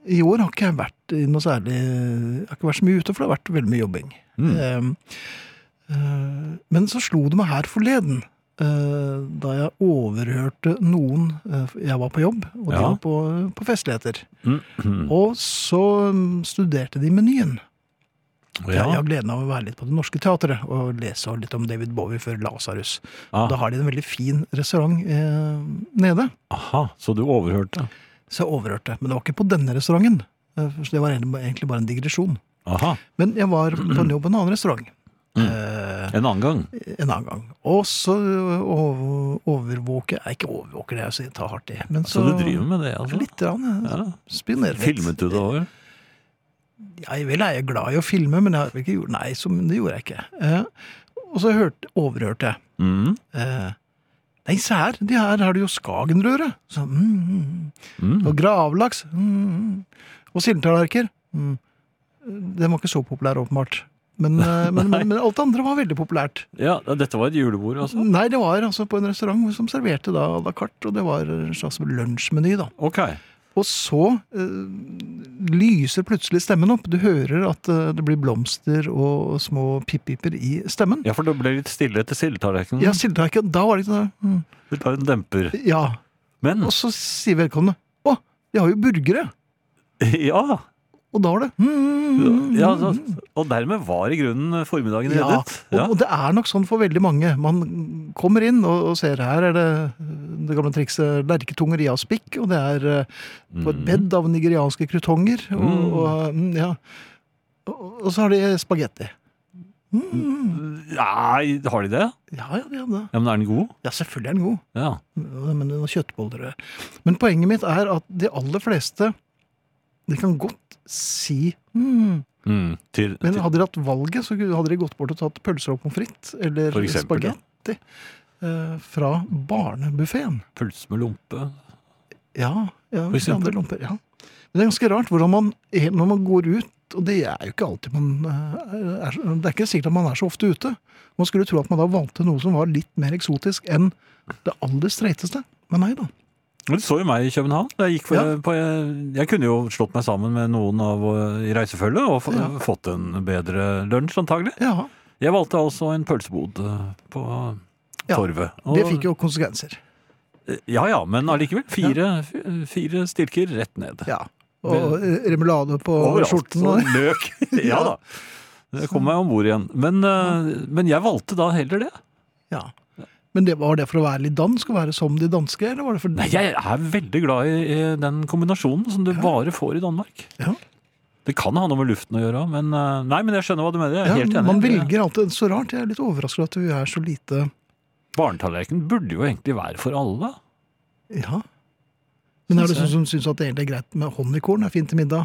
Speaker 2: i år har ikke jeg vært i noe særlig Jeg har ikke vært så mye eh, ute, for det har vært veldig mye jobbing.
Speaker 3: Mm.
Speaker 2: Ehm, øh, men så slo det meg her forleden, eh, da jeg overhørte noen eh, Jeg var på jobb, og de
Speaker 3: Ja.
Speaker 2: var på, på festligheter.
Speaker 3: Mhm.
Speaker 2: Og så mm, studerte de menyen.
Speaker 3: Ja.
Speaker 2: Jeg har gleden av å være litt på Det Norske Teatret og lese litt om David Bowie før Lasarus. Da
Speaker 3: Ah,
Speaker 2: har de en veldig fin restaurant eh, nede.
Speaker 3: aha, så du overhørte.
Speaker 2: Så jeg overhørte. Men det var ikke på denne restauranten. Eh, Så det var egentlig bare en digresjon.
Speaker 3: Aha,
Speaker 2: Men jeg var på en jobb på en annen restaurant. Eh,
Speaker 3: en annen gang.
Speaker 2: en annen gang. Og så eh, over- overvåker Jeg ikke overvåker det, jeg tar hardt i. Men
Speaker 3: Så,
Speaker 2: så,
Speaker 3: du driver med det, altså?
Speaker 2: Litt. Rann, jeg
Speaker 3: Ja.
Speaker 2: spionerer litt.
Speaker 3: Filmet du det over?
Speaker 2: Jeg vel er jeg glad i å filme, men jeg har ikke gjort Nei, så, det gjorde jeg ikke. Eh, og så hørte, overhørte jeg.
Speaker 3: Mm.
Speaker 2: Eh, nei, se her, de her har du jo Skagenrøre. Så, mm, mm.
Speaker 3: Mm.
Speaker 2: Og gravlaks. Mm, mm. Og sildetallerkener. Mm. Den var ikke så populær, åpenbart. Men,
Speaker 3: [laughs]
Speaker 2: eh, men, men, men alt det andre var veldig populært.
Speaker 3: Ja, dette var et julebord, altså?
Speaker 2: Nei, det var altså på en restaurant som serverte da à la carte, og det var en slags lunsjmeny, da.
Speaker 3: Ok.
Speaker 2: Og så eh, lyser plutselig stemmen opp. Du hører at eh, det blir blomster og små pippiper i stemmen.
Speaker 3: Ja, for det ble litt stille etter sildetallerkenen.
Speaker 2: Ja, sildetallerken. Da var det ikke noe mm.
Speaker 3: Du tar en demper.
Speaker 2: Ja.
Speaker 3: Men
Speaker 2: Og så sier vedkommende Å, de har jo burgere!
Speaker 3: [laughs] ja!
Speaker 2: Og da var det mm,
Speaker 3: ja så, og dermed var i grunnen formiddagen
Speaker 2: Ja,
Speaker 3: reddet.
Speaker 2: Og,
Speaker 3: Ja.
Speaker 2: og det er nok sånn for veldig mange. Man kommer inn og, og ser her er det det gamle trikset lerketunger i av spikk, og det er eh, på et bed av nigerianske krutonger. Og,
Speaker 3: Mm.
Speaker 2: og, mm, ja. og, og så har de spagetti. Mm.
Speaker 3: Nei, har de det?
Speaker 2: Ja, ja, ja, ja.
Speaker 3: Ja, Men er den god?
Speaker 2: ja, selvfølgelig er den god.
Speaker 3: Ja.
Speaker 2: Men det var kjøttboller og- Men poenget mitt er at de aller fleste de kan godt si mm.
Speaker 3: Mm. Til,
Speaker 2: Men
Speaker 3: til,
Speaker 2: hadde de hatt valget, så hadde de gått bort og tatt pølser og pommes frites eller
Speaker 3: For eksempel, ja.
Speaker 2: spagetti eh, fra barnebuffeen.
Speaker 3: pølse med lompe.
Speaker 2: Ja, ja,
Speaker 3: For
Speaker 2: med
Speaker 3: eksempel.
Speaker 2: andre lomper, ja. Men det er ganske rart hvordan man, e, når man går ut Og det er jo ikke alltid man eh, er, Det er ikke sikkert at man er så ofte ute. Man skulle tro at man da valgte noe som var litt mer eksotisk enn det aller streiteste. Men nei da.
Speaker 3: Men Du så jo meg i København. Jeg, gikk for, eh,
Speaker 2: Ja.
Speaker 3: på, jeg, jeg kunne jo slått meg sammen med noen av, eh, i reisefølget og få-
Speaker 2: Ja.
Speaker 3: fått en bedre lunsj, antagelig.
Speaker 2: Ja,
Speaker 3: Jeg valgte altså en pølsebod eh, på
Speaker 2: Ja,
Speaker 3: Torvet. Og- eh,
Speaker 2: Det fikk jo konsekvenser.
Speaker 3: Ja ja, men allikevel. Fire, f- fire stilker rett ned.
Speaker 2: Ja. Og eh, remulade på skjorten.
Speaker 3: Og
Speaker 2: Og,
Speaker 3: løk.
Speaker 2: [laughs]
Speaker 3: ja da. Jeg kom meg om bord igjen. Men, eh, men jeg valgte da heller det.
Speaker 2: ja. Men det, var det for å være litt dansk og være som de danske, eller var det for
Speaker 3: Nei, jeg er veldig glad i, i den kombinasjonen som du bare får i Danmark.
Speaker 2: Ja.
Speaker 3: Det kan ha noe med luften å gjøre, men eh, Nei, men jeg skjønner hva du mener. Jeg er
Speaker 2: Ja,
Speaker 3: helt enig.
Speaker 2: man velger alltid så rart. Jeg er litt overrasket at vi er så lite
Speaker 3: Barnetallerken burde jo egentlig være for alle.
Speaker 2: [laughs] Ja. Men er det
Speaker 3: Synes jeg.
Speaker 2: sånn som syns at det egentlig er greit med honningkorn? Er fint til middag?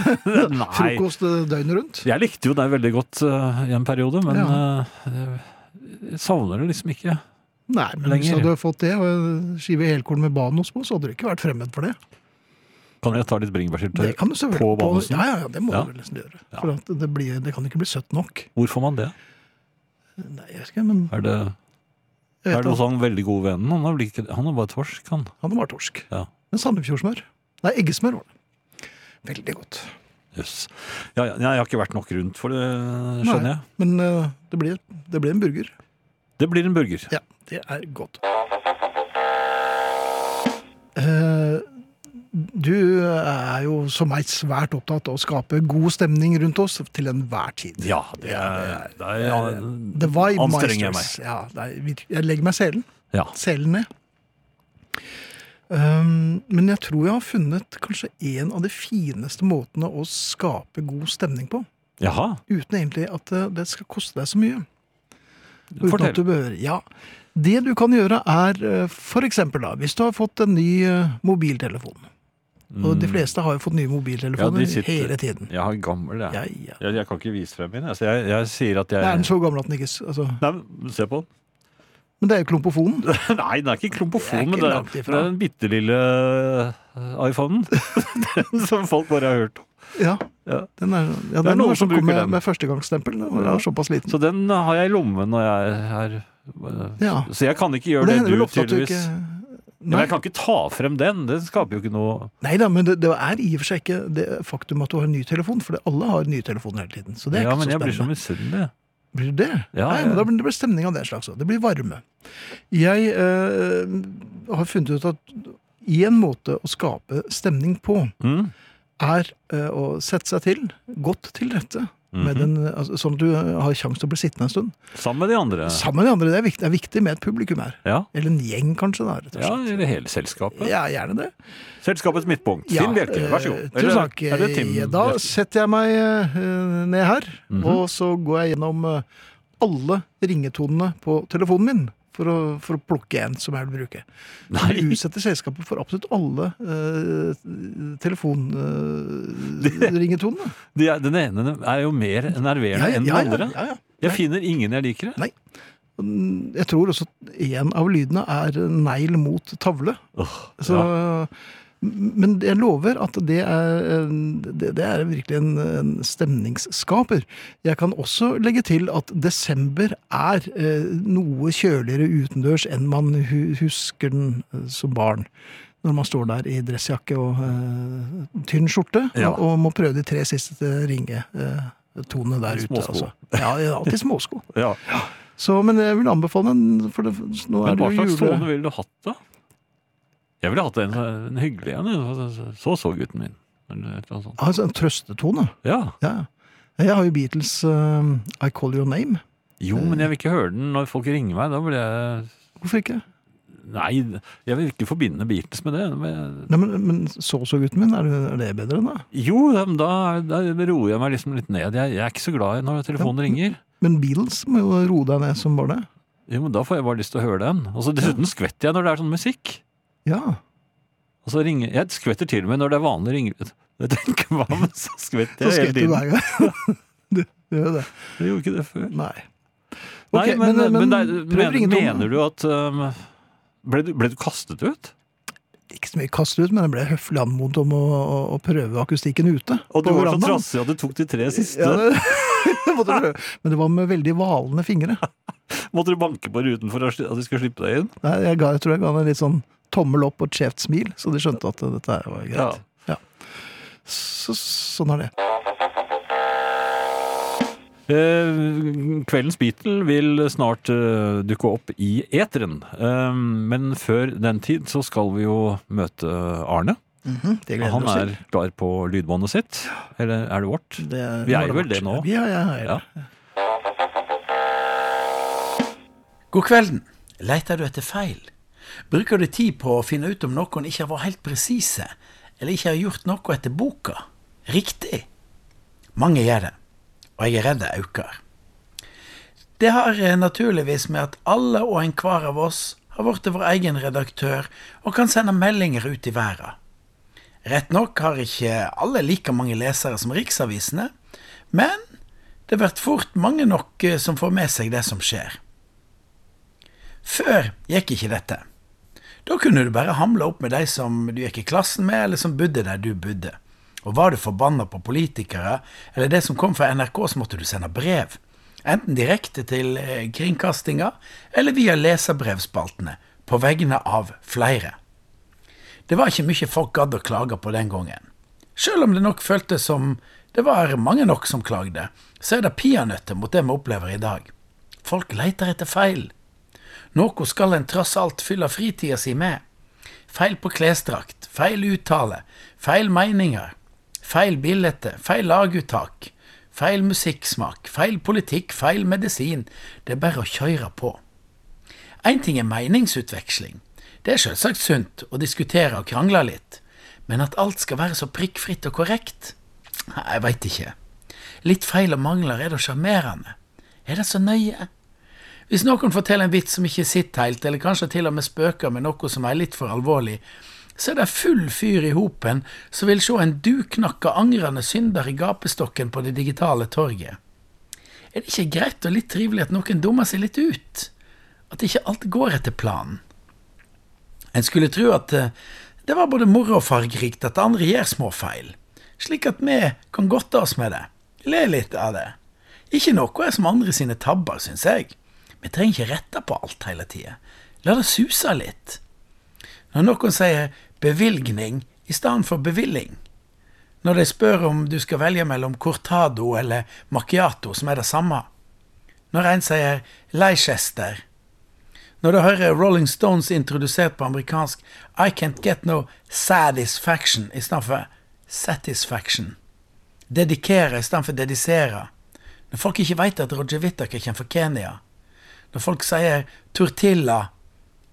Speaker 3: nei.
Speaker 2: Frokost eh, døgnet rundt?
Speaker 3: Jeg likte jo deg veldig godt eh, i en periode, men
Speaker 2: Ja.
Speaker 3: eh, jeg savner det liksom ikke.
Speaker 2: Nei, men hvis
Speaker 3: Lenger.
Speaker 2: du hadde fått det, og en skive helkorn med banos på, så hadde du ikke vært fremmed for det.
Speaker 3: Kan jeg ta litt
Speaker 2: Det
Speaker 3: bringebærsyltetøy?
Speaker 2: kan du selvfølgelig
Speaker 3: På banosen?
Speaker 2: Ja, ja, ja, det må
Speaker 3: Ja.
Speaker 2: du vel nesten gjøre.
Speaker 3: Ja.
Speaker 2: For at det, blir, det kan ikke bli søtt nok.
Speaker 3: Hvor får man det?
Speaker 2: Nei, jeg vet ikke, men
Speaker 3: Er det,
Speaker 2: jeg
Speaker 3: er
Speaker 2: vet
Speaker 3: det sånn? hos
Speaker 2: at
Speaker 3: han veldig gode vennen? Han er, vel ikke, han er bare torsk, han.
Speaker 2: han var torsk.
Speaker 3: Ja.
Speaker 2: Men Sandefjordsmør. Nei, eggesmør var det. Veldig godt.
Speaker 3: Jøss. Ja, ja, jeg har ikke vært nok rundt for det, skjønner jeg.
Speaker 2: Men eh, det blir, det blir en burger.
Speaker 3: Det blir en burger.
Speaker 2: Ja, det er godt. Eh, Du er jo som meg svært opptatt av å skape god stemning rundt oss til enhver tid.
Speaker 3: Ja, det er, det er, ja,
Speaker 2: The vibe
Speaker 3: Anstrenger jeg
Speaker 2: meisters. Ja, det er virk- jeg legger meg selen,
Speaker 3: ja.
Speaker 2: selen ned. Um, men jeg tror jeg har funnet kanskje en av de fineste måtene å skape god stemning på.
Speaker 3: Jaha,
Speaker 2: Uten egentlig at eh, det skal koste deg så mye. Uten
Speaker 3: fortell.
Speaker 2: at du behøver. Ja. Det du kan gjøre er eh, for eksempel da, hvis du har fått en ny eh, mobiltelefon. Og de fleste har jo fått nye mobiltelefoner
Speaker 3: Mm. Ja, de sitter-
Speaker 2: hele tiden.
Speaker 3: Jeg har gammel, jeg.
Speaker 2: Ja,
Speaker 3: Jeg,
Speaker 2: ja.
Speaker 3: jeg. kan ikke vise frem min. Altså, jeg, jeg sier at
Speaker 2: Er
Speaker 3: jeg
Speaker 2: den så gammel at den ikke s- altså.
Speaker 3: Nei, men se på den. [laughs]
Speaker 2: Men det er jo klumpofonen.
Speaker 3: Nei, den er ikke
Speaker 2: Det er
Speaker 3: klompofon, men
Speaker 2: ikke
Speaker 3: det er,
Speaker 2: langt
Speaker 3: det
Speaker 2: ifra.
Speaker 3: er den bitte lille eh, iPhonen. [laughs] den som folk bare har hørt om.
Speaker 2: Ja.
Speaker 3: Ja.
Speaker 2: Den er, ja,
Speaker 3: Det er
Speaker 2: den
Speaker 3: noen
Speaker 2: var
Speaker 3: som
Speaker 2: som kom
Speaker 3: bruker
Speaker 2: med,
Speaker 3: den.
Speaker 2: med førstegangsstempel. Den
Speaker 3: Ja.
Speaker 2: var såpass liten.
Speaker 3: Så den har jeg i lommen når jeg er eh,
Speaker 2: Ja.
Speaker 3: Så jeg kan ikke
Speaker 2: Og
Speaker 3: gjøre
Speaker 2: det
Speaker 3: det,
Speaker 2: hender
Speaker 3: du
Speaker 2: vel ofte at du
Speaker 3: tydeligvis
Speaker 2: ikke
Speaker 3: Men
Speaker 2: Nei.
Speaker 3: jeg kan ikke ta frem den. Det skaper jo ikke noe
Speaker 2: Nei da, men det, det er i og for seg ikke det faktum at du har en ny telefon, for det- alle har ny telefon hele tiden. Så det er
Speaker 3: Ja,
Speaker 2: ikke
Speaker 3: men
Speaker 2: så
Speaker 3: jeg blir så
Speaker 2: spennende.
Speaker 3: misunnelig.
Speaker 2: Blir det det?
Speaker 3: Ja,
Speaker 2: Nei,
Speaker 3: ja.
Speaker 2: men da blir det blir stemning av den slags også. Det blir varme. Jeg eh, har funnet ut at én måte å skape stemning på,
Speaker 3: Mm.
Speaker 2: er eh, å sette seg til, godt til rette,
Speaker 3: Mhm.
Speaker 2: med den, altså, sånn at du har sjanse til å bli sittende en stund.
Speaker 3: Sammen med de andre.
Speaker 2: Sammen med de andre. Det er viktig, det er viktig med et publikum her.
Speaker 3: Ja.
Speaker 2: Eller en gjeng, kanskje. Da, rett og
Speaker 3: ja,
Speaker 2: slett.
Speaker 3: eller hele selskapet.
Speaker 2: Ja, gjerne det.
Speaker 3: Selskapets midtpunkt. Finn Bjelke, vær så
Speaker 2: eh,
Speaker 3: god.
Speaker 2: Tusen takk. eh,
Speaker 3: Er det Tim Mhm.
Speaker 2: Da
Speaker 3: Bjerke?
Speaker 2: setter jeg meg eh, ned her, og så går jeg gjennom eh, alle ringetonene på telefonen min. For å, for å plukke en som jeg vil bruke. Så
Speaker 3: Nei.
Speaker 2: Vi utsetter selskapet for absolutt alle eh,
Speaker 3: [laughs]
Speaker 2: telefonringetonene.
Speaker 3: De er, den ene er jo mer nerverende enn den andre.
Speaker 2: ja, ja.
Speaker 3: Jeg finner ingen jeg liker.
Speaker 2: Nei. Jeg tror også en av lydene er negl mot tavle.
Speaker 3: Åh,
Speaker 2: Så,
Speaker 3: ja.
Speaker 2: Men jeg lover at det er, en- det, det er virkelig en, en stemningsskaper. Jeg kan også legge til at desember er eh, noe kjøligere utendørs enn man hu husker den eh, som barn. Når man står der i dressjakke og eh, tynn skjorte
Speaker 3: Ja.
Speaker 2: og, og må prøve de tre siste ringetonene der ute.
Speaker 3: Småsko.
Speaker 2: Altså. Ja, det er alltid småsko.
Speaker 3: Ja.
Speaker 2: Så, men jeg vil anbefale den, for det, nå er
Speaker 3: Men hva
Speaker 2: det jo
Speaker 3: slags
Speaker 2: jule...
Speaker 3: tone ville du hatt, da? Jeg ville hatt en, en hyggelig en. Så så gutten min. Eller et eller annet sånt.
Speaker 2: Altså, en trøstetone.
Speaker 3: Ja.
Speaker 2: Ja. Jeg har jo Beatles eh, I Call Your Name. Eh.
Speaker 3: Jo, men jeg vil ikke høre den når folk ringer meg. Da blir jeg
Speaker 2: Hvorfor ikke?
Speaker 3: Nei, jeg vil ikke forbinde Beatles med det. Men...
Speaker 2: Nei, men, men så så gutten min, er det, er det bedre enn det?
Speaker 3: Jo, da, da da roer jeg meg liksom litt ned. Jeg, jeg er ikke så glad i når telefonen ringer.
Speaker 2: Men Beatles må jo roe deg ned som bare det.
Speaker 3: Jo, men Da får jeg bare lyst til å høre den. Og så Dessuten skvetter jeg når det er sånn musikk.
Speaker 2: Ja.
Speaker 3: Og så ringer, Jeg skvetter til og med når det er vanlig ringelyd. [laughs] Jeg tenker, hva, men så skvetter
Speaker 2: Så
Speaker 3: jeg
Speaker 2: skvetter
Speaker 3: hele
Speaker 2: du
Speaker 3: tiden.
Speaker 2: hver gang. [laughs] Du gjør jo det.
Speaker 3: Jeg gjorde ikke det før.
Speaker 2: Nei.
Speaker 3: Nei,
Speaker 2: Ok, eh,
Speaker 3: men, men, det er,
Speaker 2: prøv
Speaker 3: mener,
Speaker 2: ringetonen.
Speaker 3: mener du at um, ble, du, ble du kastet ut?
Speaker 2: Ikke så mye kast ut, men jeg ble høflig anmodet om å, å, å prøve akustikken ute.
Speaker 3: Og du
Speaker 2: på
Speaker 3: var så
Speaker 2: verandaen.
Speaker 3: trassig at du tok de tre siste.
Speaker 2: Ja, det, [laughs] jeg måtte prøve. Men det var med veldig hvalende fingre.
Speaker 3: Måtte du banke på ruten for å sli- at de skulle slippe deg inn?
Speaker 2: Nei, Jeg, ga, jeg tror jeg ga han en litt sånn tommel opp og et skjevt smil, så de skjønte at dette her var greit. Ja. Så, sånn er det.
Speaker 3: Eh, Kveldens Beatle vil snart eh, dukke opp i eteren. Eh, men før den tid så skal vi jo møte eh, Arne.
Speaker 2: Det gleder
Speaker 3: Han
Speaker 2: vi oss
Speaker 3: er
Speaker 2: til.
Speaker 3: klar på lydbåndet sitt. Eller er det vårt?
Speaker 2: Det er
Speaker 3: Vi er
Speaker 2: bare
Speaker 3: vel
Speaker 2: vårt.
Speaker 3: det nå.
Speaker 2: Ja, ja, ja.
Speaker 3: Ja.
Speaker 4: God kvelden. Leiter du etter feil? Bruker du tid på å finne ut om noen ikke har vært helt presise, eller ikke har gjort noe etter boka? Riktig. Mange gjør det, og jeg er redd det øker. Det har eh, naturligvis med at alle og enhver av oss har blitt vår egen redaktør og kan sende meldinger ut i verden. Rett nok har ikke alle like mange lesere som riksavisene, men det blir fort mange nok eh, som får med seg det som skjer. Før gikk ikke dette. Da kunne du bare hamle opp med de som du gikk i klassen med, eller som bodde der du bodde. Og var du forbanna på politikere eller det som kom fra NRK, så måtte du sende brev. Enten direkte til eh, kringkastinga, eller via leserbrevspaltene, på vegne av flere. Det var ikke mye folk gadd å klage på den gangen. Selv om det nok føltes som det var mange nok som klagde, så er det peanøtter mot det vi opplever i dag. Folk leter etter feil. Noe skal en tross alt fylle fritida si med. Feil på klesdrakt, feil uttale, feil meninger, feil bilde, feil laguttak, feil musikksmak, feil politikk, feil medisin. Det er bare å kjøre på. Én ting er meningsutveksling. Det er selvsagt sunt å diskutere og krangle litt. Men at alt skal være så prikkfritt og korrekt? Nei, Jeg veit ikke. Litt feil og mangler er da sjarmerende. Er det så nøye? Hvis noen forteller en vits som ikke sitter helt, eller kanskje til og med spøker med noe som er litt for alvorlig, så er det full fyr i hopen som vil se en duknakka angrende synder i gapestokken på det digitale torget. Er det ikke greit og litt trivelig at noen dummer seg litt ut? At ikke alt går etter planen? En skulle tro at eh, det var både moro og fargerikt at andre gjør små feil, slik at vi kan godte oss med det, le litt av det. Ikke noe er som andre sine tabber, syns jeg. Vi trenger ikke rette på alt hele tida. La det suse litt. Når noen sier bevilgning i stedet for bevilling, når de spør om du skal velge mellom cortado eller macchiato, som er det samme, når en sier Leicester. Når du hører Rolling Stones introdusert på amerikansk I can't get no satisfaction i stedet for satisfaction. Dedikere i stedet for dedisere. Når folk ikke veit at Roger Whittaker kommer fra Kenya. Når folk sier tortilla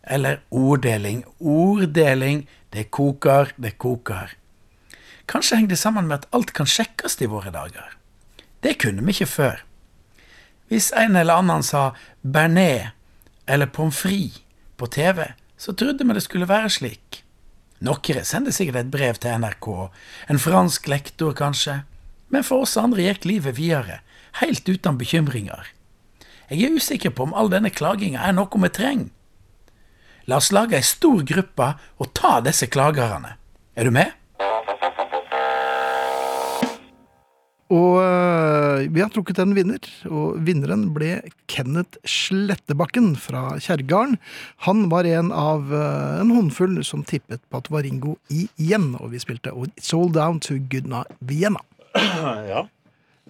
Speaker 4: eller orddeling. Orddeling, det koker, det koker. Kanskje henger det sammen med at alt kan sjekkes i våre dager. Det kunne vi ikke før. Hvis en eller annen sa bearnés eller pommes frites på TV, så trodde vi det skulle være slik. Noen sender sikkert et brev til NRK, en fransk lektor kanskje, men for oss andre gikk livet videre, helt uten bekymringer. Jeg er usikker på om all denne klaginga er noe vi trenger. La oss lage ei stor gruppe og ta disse klagerne. Er du med?
Speaker 2: Og øh, vi har trukket en vinner, og vinneren ble Kenneth Slettebakken fra Kjerrgarden. Han var en av øh, en håndfull som tippet på at det var Ringo igjen, og vi spilte It's All Down to Goodna Vienna.
Speaker 3: Ja.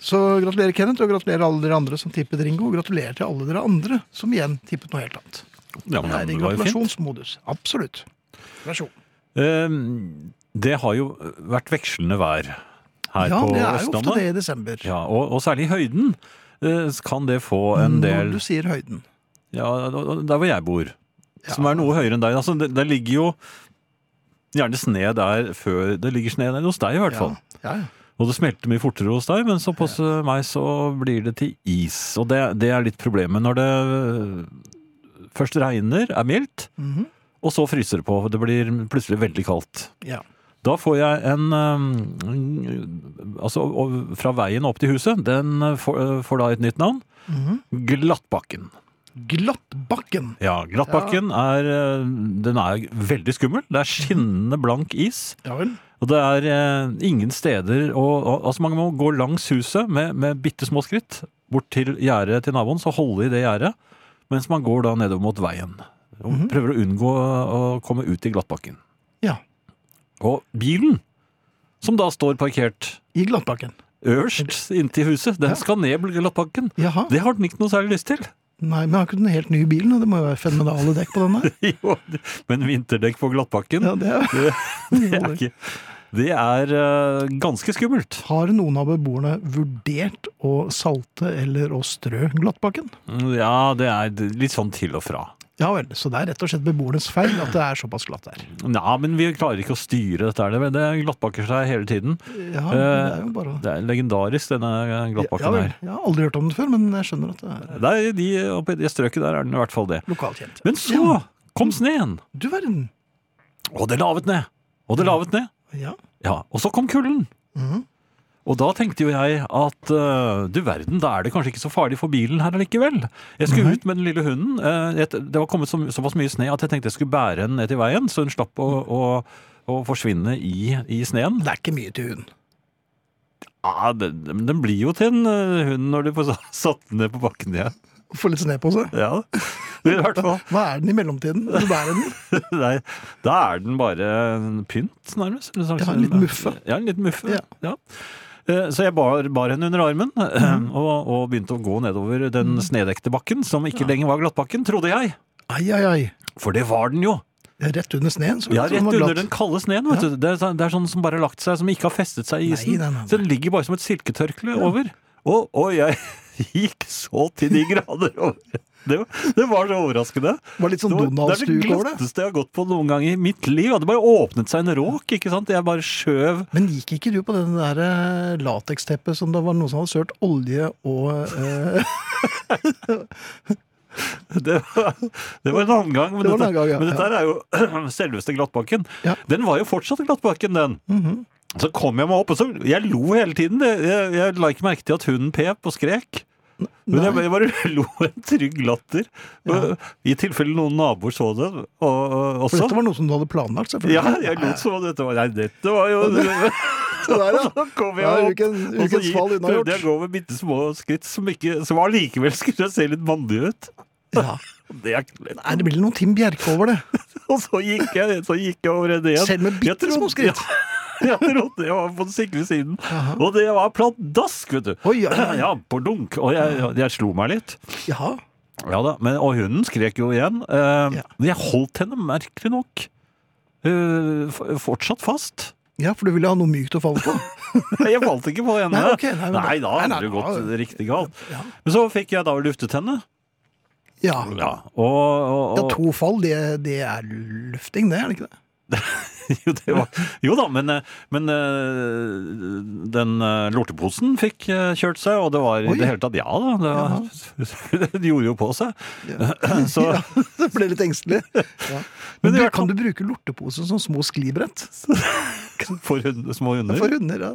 Speaker 2: Så gratulerer Kenneth, og gratulerer alle dere andre som tippet Ringo, og gratulerer til alle dere andre som igjen tippet noe helt annet.
Speaker 3: ja,
Speaker 2: Det
Speaker 3: men
Speaker 2: er
Speaker 3: det
Speaker 2: i
Speaker 3: var jo fint.
Speaker 2: gratulasjonsmodus. Absolutt. Gratulasjon.
Speaker 3: Ehm, Det har jo vært vekslende vær her
Speaker 2: Ja,
Speaker 3: på
Speaker 2: det er jo ofte
Speaker 3: Østlandet.
Speaker 2: det i desember.
Speaker 3: Ja, og, og særlig i høyden eh, kan det få en
Speaker 2: Når
Speaker 3: del
Speaker 2: du sier høyden.
Speaker 3: Ja, der hvor jeg bor. Som er noe høyere enn deg. Altså, det, det ligger jo gjerne sne der før Det ligger sne der hos deg, i hvert fall.
Speaker 2: Ja, ja.
Speaker 3: Og det smelter mye fortere hos deg, men så hos eh, meg så blir det til is. Og det, det er litt problemet når det eh, først regner, er mildt,
Speaker 2: Mhm.
Speaker 3: og så fryser det på. Det blir plutselig veldig kaldt.
Speaker 2: ja.
Speaker 3: Da får jeg en eh, en, Altså og- fra veien opp til huset, den eh, får, eh, får da et nytt navn.
Speaker 2: Mhm.
Speaker 3: Glattbakken.
Speaker 2: Glattbakken.
Speaker 3: Ja, Glattbakken er eh, Den er veldig skummel. Det er skinnende blank is.
Speaker 2: Ja vel.
Speaker 3: Og det er eh, ingen steder å, å- Altså, man må gå langs huset med, med bitte små skritt bort til gjerdet til naboen, så holde i det gjerdet, mens man går da nedover mot veien. Og prøver å unngå å komme ut i glattbakken.
Speaker 2: Ja.
Speaker 3: Og bilen, som da står parkert
Speaker 2: I Glattbakken.
Speaker 3: øverst inntil huset, den
Speaker 2: Ja.
Speaker 3: skal ned glattbakken.
Speaker 2: Jaha.
Speaker 3: Det har den ikke noe særlig lyst til. [laughs]
Speaker 2: Nei, men har ikke den helt ny bilen? da? Det må jo være fenomenale dekk på den der.
Speaker 3: Jo, Men vinterdekk på glattbakken,
Speaker 2: Ja, det er...
Speaker 3: det er ikke Det er eh, ganske skummelt.
Speaker 2: [laughs] Har noen av beboerne vurdert å salte eller å strø Glattbakken?
Speaker 3: Ja, det er litt sånn til og fra.
Speaker 2: Ja vel, så det er rett og slett beboernes feil at det er såpass glatt der.
Speaker 3: Nei, men vi klarer ikke å styre dette. her. Det, det glattbakker seg hele tiden.
Speaker 2: Ja, men det er jo bare...
Speaker 3: Eh, Det er legendarisk, denne
Speaker 2: Ja
Speaker 3: glattbakken
Speaker 2: vel,
Speaker 3: her.
Speaker 2: jeg har aldri hørt om den før, men jeg skjønner at det er
Speaker 3: Nei, de, oppe i det strøket der er den i hvert fall det.
Speaker 2: lokalt kjent.
Speaker 3: Men
Speaker 2: Ja,
Speaker 3: så kom sneen!
Speaker 2: du verden.
Speaker 3: Og det lavet ned! Og det lavet ned!
Speaker 2: Ja.
Speaker 3: Ja, Og så kom kulden!
Speaker 2: Mhm.
Speaker 3: Og da tenkte jo jeg at eh, du verden, da er det kanskje ikke så farlig for bilen her allikevel. Jeg
Speaker 2: Mhm.
Speaker 3: skulle ut med den lille hunden. eh, et, det var kommet så, såpass mye sne at jeg tenkte jeg skulle bære den ned til veien, så hun slapp å, å, å forsvinne i, i sneen.
Speaker 2: Det er ikke mye til hund.
Speaker 3: Ja, den, men den blir jo til en eh, hund når du får sa- [laughs] satt den ned på bakken igjen.
Speaker 2: Få litt sne på seg.
Speaker 3: Ja, [laughs] i hvert fall. [laughs]
Speaker 2: Hva er den i mellomtiden? Du bærer den.
Speaker 3: Nei, da er den bare en pynt, nærmest. Eller sånn-
Speaker 2: Ja, en liten muffe.
Speaker 3: Ja, en liten muffe.
Speaker 2: Ja.
Speaker 3: Ja. Eh, Så jeg bar, bar henne under armen [clears throat]
Speaker 2: Mhm.
Speaker 3: og, og begynte å gå nedover den snedekte bakken, som ikke lenger var glattbakken, trodde jeg.
Speaker 2: Ai, ai, ai.
Speaker 3: For det var den jo.
Speaker 2: Rett under sneen, så
Speaker 3: Ja,
Speaker 2: vet du
Speaker 3: Rett
Speaker 2: om den var
Speaker 3: under den
Speaker 2: glatt.
Speaker 3: kalde sneen. vet du. Det er, sånn- det er sånn som bare har lagt seg, som ikke har festet seg i
Speaker 2: Nei,
Speaker 3: isen.
Speaker 2: nei, nei, nei.
Speaker 3: Så den ligger bare som et silketørkle over. Og, og jeg [laughs] gikk så til de grader over. Det, var- det var så overraskende.
Speaker 2: Det var litt sånn
Speaker 3: Det var-
Speaker 2: Donald-stuk
Speaker 3: Det er
Speaker 2: over
Speaker 3: det
Speaker 2: det.
Speaker 3: glatteste jeg har gått på noen gang i mitt liv. Det hadde bare åpnet seg en råk, ikke sant? Jeg bare skjøv.
Speaker 2: Men gikk ikke du på den der eh, lateksteppet som det var noen som hadde sølt olje og eh, [laughs]
Speaker 3: [laughs] Det var, det var en annen gang. Men
Speaker 2: Det var en
Speaker 3: dette,
Speaker 2: annen gang, ja.
Speaker 3: men dette her er jo [clears throat] selveste glattbakken.
Speaker 2: Ja. Mhm.
Speaker 3: Den var jo fortsatt glattbakken, den. Så kom jeg meg opp, og så Jeg lo hele tiden. Jeg, jeg, jeg la ikke merke til at hunden pep og skrek. Men jeg,
Speaker 2: Nei.
Speaker 3: jeg bare [laughs] lo en trygg latter. Og I tilfelle noen naboer så det og, og,
Speaker 2: For dette
Speaker 3: også.
Speaker 2: var noe som du hadde planlagt, selvfølgelig.
Speaker 3: Ja, jeg lot som om dette var Nei, dette
Speaker 2: [laughs]
Speaker 3: var jo [laughs]
Speaker 2: Så der, ja.
Speaker 3: Så kom jeg
Speaker 2: Ja,
Speaker 3: opp.
Speaker 2: uken-
Speaker 3: Og så
Speaker 2: ukens
Speaker 3: gi-
Speaker 2: fall unnagjort.
Speaker 3: prøvde jeg å gå med bitte små skritt som, ikke, som allikevel skulle se litt mandig ut.
Speaker 2: Ja.
Speaker 3: Det er ikke lett.
Speaker 2: Nei, det blir noe Tim Bjerke over det.
Speaker 3: [laughs] Og så gikk jeg, så gikk jeg over en igjen.
Speaker 2: Selv med
Speaker 3: Jeg
Speaker 2: bitte små
Speaker 3: trodde-
Speaker 2: skritt.
Speaker 3: [laughs] Ja, og det var på den sikre siden. Og det var pladask, vet du.
Speaker 2: Oi, ja.
Speaker 3: [clears throat] Ja, på dunk. Og jeg, jeg slo meg litt.
Speaker 2: Jaha.
Speaker 3: Ja da, men, Og hunden skrek jo igjen. Eh,
Speaker 2: Ja.
Speaker 3: Men jeg holdt henne merkelig nok eh, f- fortsatt fast. [laughs]
Speaker 2: Ja, for du ville ha noe mykt å falle på.
Speaker 3: Nei, Jeg falt ikke på henne.
Speaker 2: Nei, ok, nei, men da-
Speaker 3: Nei, da
Speaker 2: nei, nei,
Speaker 3: hadde det gått
Speaker 2: da-
Speaker 3: riktig galt.
Speaker 2: Ja.
Speaker 3: Men så fikk jeg da luftet henne.
Speaker 2: Ja.
Speaker 3: Ja, og, og,
Speaker 2: ja
Speaker 3: og
Speaker 2: to fall, det, det er lufting, det, er det [laughs] ikke det?
Speaker 3: [laughs] jo, det var, jo da, men, eh, men eh, den eh, lorteposen fikk eh, kjørt seg, og det var
Speaker 2: Oi.
Speaker 3: i det hele tatt Ja da, det, var, [laughs] det gjorde jo på seg. [clears throat] Så
Speaker 2: Ja, jeg ble litt engstelig. Ja.
Speaker 3: Men
Speaker 2: Men
Speaker 3: i
Speaker 2: du,
Speaker 3: hvert fall-
Speaker 2: kan du bruke lortepose som små sklibrett [laughs]
Speaker 3: for hund, små hunder
Speaker 2: for hunder? Ja.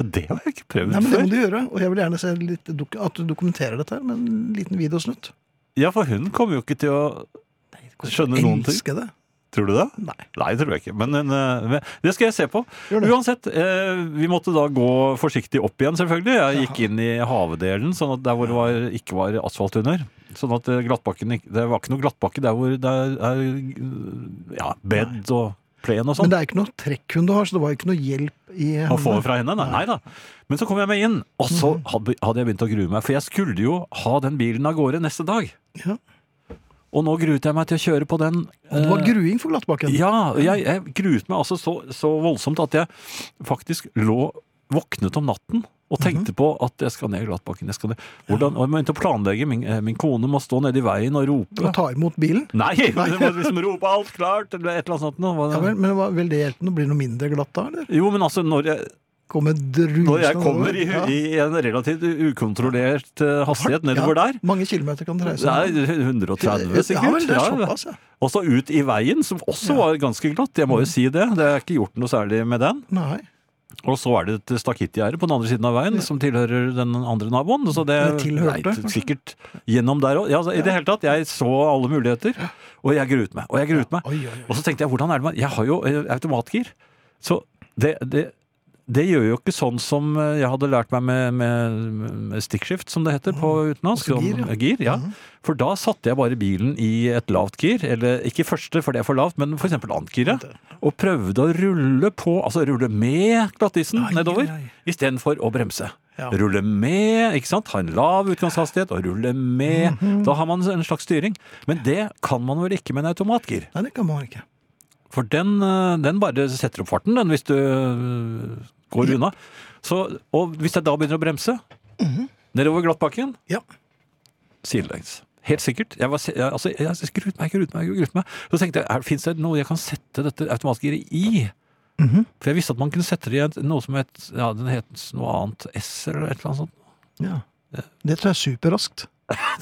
Speaker 3: Det har jeg ikke prøvd
Speaker 2: Nei, men det
Speaker 3: før.
Speaker 2: må du gjøre, og jeg vil gjerne se litt dok at du dokumenterer dette her med en liten videosnutt.
Speaker 3: Ja, for hun kommer jo ikke til å skjønne noen ting.
Speaker 2: Elsker det.
Speaker 3: Tror du det?
Speaker 2: Nei.
Speaker 3: Nei, tror jeg ikke. Men eh, det skal jeg se på.
Speaker 2: Gjør det.
Speaker 3: Uansett, eh, vi måtte da gå forsiktig opp igjen, selvfølgelig. Jeg gikk inn i havedelen, sånn at der hvor det var, ikke var asfalt under. Sånn at eh, glattbakken ikke- Det var ikke noe glattbakke der hvor det er eh, ja, bed og plen og
Speaker 2: Men
Speaker 3: sånn.
Speaker 2: det er ikke noe trekkhund du har, så det var ikke noe hjelp i
Speaker 3: Å få fra henne? Nei, nei da. Men så kom jeg meg inn, og så
Speaker 2: Mm.
Speaker 3: hadde hadde jeg begynt å grue meg. For jeg skulle jo ha den bilen av gårde neste dag.
Speaker 2: Ja.
Speaker 3: Og nå gruet jeg meg til å kjøre på den.
Speaker 2: Det var
Speaker 3: eh,
Speaker 2: gruing for glattbakken.
Speaker 3: Ja, og jeg, jeg gruet meg altså så, så voldsomt at jeg faktisk lå våknet om natten
Speaker 2: Mhm.
Speaker 3: og tenkte på at jeg skal ned glattbakken. Jeg skal ned. Hvordan, og jeg begynte å planlegge. Min, eh, min kone må stå nede i veien og
Speaker 2: Å
Speaker 3: rope.
Speaker 2: ta imot bilen.
Speaker 3: Nei, du må liksom rope 'alt klart' eller et eller annet sånt. nå. Hva-
Speaker 2: Ja, vel, men hva- vil det hjelpe? Nå blir det noe mindre glatt da, eller?
Speaker 3: Jo, men altså, når jeg,
Speaker 2: Kommer drusende
Speaker 3: når jeg kommer i,
Speaker 2: over.
Speaker 3: hu- i en relativt ukontrollert eh, hastighet
Speaker 2: Ja.
Speaker 3: nedover der
Speaker 2: Mange kilometer kan det reise.
Speaker 3: det er 130 sikkert.
Speaker 2: Ja, vel, det er
Speaker 3: Ja,
Speaker 2: såpass, ja.
Speaker 3: Og så ut i veien, som også
Speaker 2: Ja. Mhm.
Speaker 3: var ganske glatt. Jeg må jo si det. Det er ikke gjort noe særlig med den.
Speaker 2: Nei.
Speaker 3: Og så er det et stakittgjerde på den andre siden av veien som tilhører den andre naboen. Så det
Speaker 2: Eller tilhørte,
Speaker 3: Nei,
Speaker 2: kanskje?
Speaker 3: sikkert gjennom der òg. Ja, altså, I det hele tatt, jeg så alle muligheter, og jeg gruet meg. Og jeg gruet meg.
Speaker 2: Oi, oi, oi.
Speaker 3: Og så tenkte jeg, hvordan er det man Jeg har jo eh, automatgir. Så det, det, det gjør jo ikke sånn som eh, jeg hadde lært meg med, med, med stikkskift, som det heter på utenlandsk.
Speaker 2: også Mm. Altså gir,
Speaker 3: om- eh,
Speaker 2: ja. Mm.
Speaker 3: gir, ja. For da satte jeg bare bilen i et lavt gir, eller ikke første, for det er for lavt, men f.eks. annet-giret, og prøvde å rulle på, altså rulle med glattisen
Speaker 2: Ai,
Speaker 3: nedover,
Speaker 2: ai.
Speaker 3: istedenfor å bremse.
Speaker 2: Ja.
Speaker 3: Rulle med, ikke sant? Ha en lav utgangshastighet og rulle med.
Speaker 2: Mhm.
Speaker 3: Da har man en slags styring. Men det kan man vel ikke med en automatgir?
Speaker 2: Nei, det kan man ikke.
Speaker 3: For den, eh, den bare setter opp farten, den, hvis du eh, går unna. Så, og hvis jeg da begynner å bremse,
Speaker 2: Mhm.
Speaker 3: nedover glattbakken,
Speaker 2: Ja.
Speaker 3: sidelengs. Helt sikkert. Jeg, var, se- jeg, altså, jeg gruet meg, gruet meg, gruet meg. Så tenkte jeg, fins det noe jeg kan sette dette automatgiret i?
Speaker 2: Mhm.
Speaker 3: For jeg visste at man kunne sette det i et, noe som het, ja, den het noe annet S eller et eller annet sånt.
Speaker 2: ja. Det tror jeg er superraskt.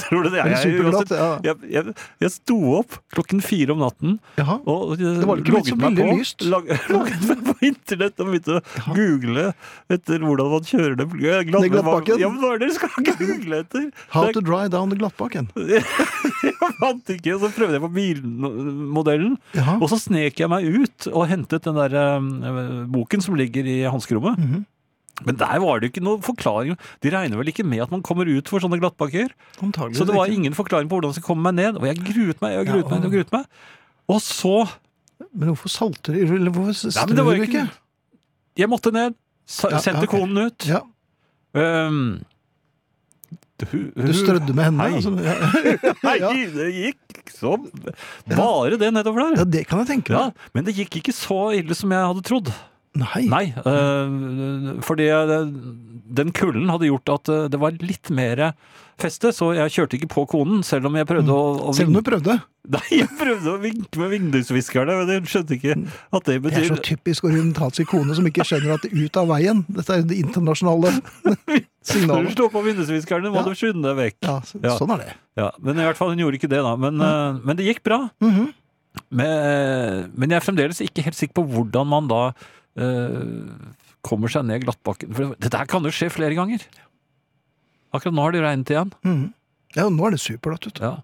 Speaker 3: Tror du det?
Speaker 2: Eller
Speaker 3: Jeg,
Speaker 2: superglatt.
Speaker 3: jeg,
Speaker 2: Ja.
Speaker 3: jeg, jeg, jeg sto opp klokken fire om natten
Speaker 2: Jaha.
Speaker 3: Og det
Speaker 2: var ikke blitt så veldig lyst.
Speaker 3: Lag, [laughs] logget meg på internett og begynte å google etter hvordan man kjører det. Jeg
Speaker 2: Ned glattbakken.
Speaker 3: Ja, men hva er det
Speaker 2: [laughs]
Speaker 3: dere skal google etter?
Speaker 2: How to
Speaker 3: jeg,
Speaker 2: dry down glattbakken.
Speaker 3: jeg [laughs] fant ikke, og så prøvde jeg på bilmodellen.
Speaker 2: Jaha.
Speaker 3: Og så snek jeg meg ut og hentet den der eh, boken som ligger i hanskerommet.
Speaker 2: Mhm.
Speaker 3: Men der var det jo ikke noen forklaring. De regner vel ikke med at man kommer ut for sånne glattbakker?
Speaker 2: Antageligvis
Speaker 3: Så det var
Speaker 2: ikke.
Speaker 3: ingen forklaring på hvordan jeg skulle komme meg ned. Og jeg gruet meg, jeg
Speaker 2: Ja,
Speaker 3: gruet meg, jeg
Speaker 2: og-
Speaker 3: gruet meg. Og så
Speaker 2: Men hvorfor salter du Eller hvorfor
Speaker 3: Nei, men det var
Speaker 2: strør du
Speaker 3: jo
Speaker 2: ikke?
Speaker 3: ikke Jeg måtte ned, sa,
Speaker 2: Ja, ja,
Speaker 3: sendte
Speaker 2: ok.
Speaker 3: konen ut.
Speaker 2: Ja,
Speaker 3: Ehm, hu- hu-
Speaker 2: du strødde med henne.
Speaker 3: Hei.
Speaker 2: Altså, ja.
Speaker 3: [laughs]
Speaker 2: [laughs]
Speaker 3: Nei,
Speaker 2: ja.
Speaker 3: det gikk som bare det nedover
Speaker 2: ja,
Speaker 3: der.
Speaker 2: det kan jeg tenke
Speaker 3: Ja,
Speaker 2: meg.
Speaker 3: men det gikk ikke så ille som jeg hadde trodd.
Speaker 2: Nei.
Speaker 3: Nei, eh, fordi eh, den kulden hadde gjort at eh, det var litt mer feste, så jeg kjørte ikke på konen, selv om jeg prøvde å, å
Speaker 2: Selv om du prøvde.
Speaker 3: [laughs] Nei, jeg prøvde å vinke med vindusviskerne, men jeg skjønte ikke at det
Speaker 2: Det er
Speaker 3: betyr
Speaker 2: så typisk orientalsk kone som ikke skjønner at det er ut av veien. Dette er jo det
Speaker 3: [laughs]
Speaker 2: internasjonale
Speaker 3: Når du
Speaker 2: signalet.
Speaker 3: slår på vindusviskerne, må
Speaker 2: Ja.
Speaker 3: du skynde deg vekk.
Speaker 2: Ja, så,
Speaker 3: Ja.
Speaker 2: Sånn er det.
Speaker 3: Ja, men i hvert fall hun gjorde ikke det da. Men, eh, men det gikk bra.
Speaker 2: Mhm.
Speaker 3: men, eh, men jeg er fremdeles ikke helt sikker på hvordan man da eh, kommer seg ned glattbakken. For det der kan jo skje flere ganger. Akkurat nå har det regnet igjen.
Speaker 2: Mhm. Ja, nå er det superlatt ut.
Speaker 3: Ja.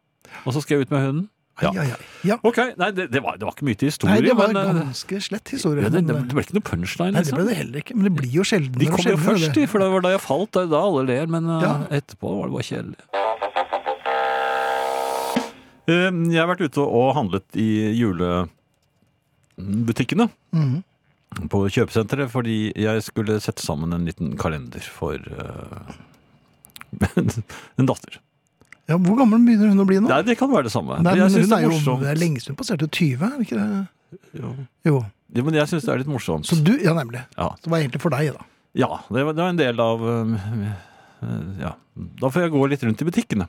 Speaker 3: Og så skal jeg ut med hunden.
Speaker 2: Ai, ai, ai. Ja.
Speaker 3: Ok, nei, det, det, var, det var ikke mye til historie.
Speaker 2: Nei, det var en
Speaker 3: men, eh,
Speaker 2: ganske slett historie.
Speaker 3: det, det, det
Speaker 2: men- eh,
Speaker 3: ble ikke noe punchline.
Speaker 2: Nei, det ble
Speaker 3: liksom.
Speaker 2: det heller ikke. Men det blir jo sjeldnere.
Speaker 3: De
Speaker 2: og
Speaker 3: kom jo
Speaker 2: sjeldnere,
Speaker 3: først,
Speaker 2: det.
Speaker 3: de, for det var da jeg falt. Det er da alle ler, men eh,
Speaker 2: Ja.
Speaker 3: etterpå var det bare kjedelig.
Speaker 2: Mhm.
Speaker 3: Jeg har vært ute og handlet i julebutikkene. på kjøpesenteret fordi jeg skulle sette sammen en liten kalender for eh, [laughs] en datter.
Speaker 2: Ja, Hvor gammel begynner hun å bli nå?
Speaker 3: Nei, det kan være det samme.
Speaker 2: Nei,
Speaker 3: Men
Speaker 2: men
Speaker 3: jeg synes
Speaker 2: hun er
Speaker 3: det er
Speaker 2: jo
Speaker 3: morsomt.
Speaker 2: det er lenge siden hun passerte 20, er det ikke det?
Speaker 3: Jo.
Speaker 2: Jo.
Speaker 3: Ja, men jeg syns det er litt morsomt.
Speaker 2: Så du, ja nemlig.
Speaker 3: Ja.
Speaker 2: Så det var egentlig for deg, da.
Speaker 3: Ja, det var, det var en del av øhm, øh, ja. Da får jeg gå litt rundt i butikkene.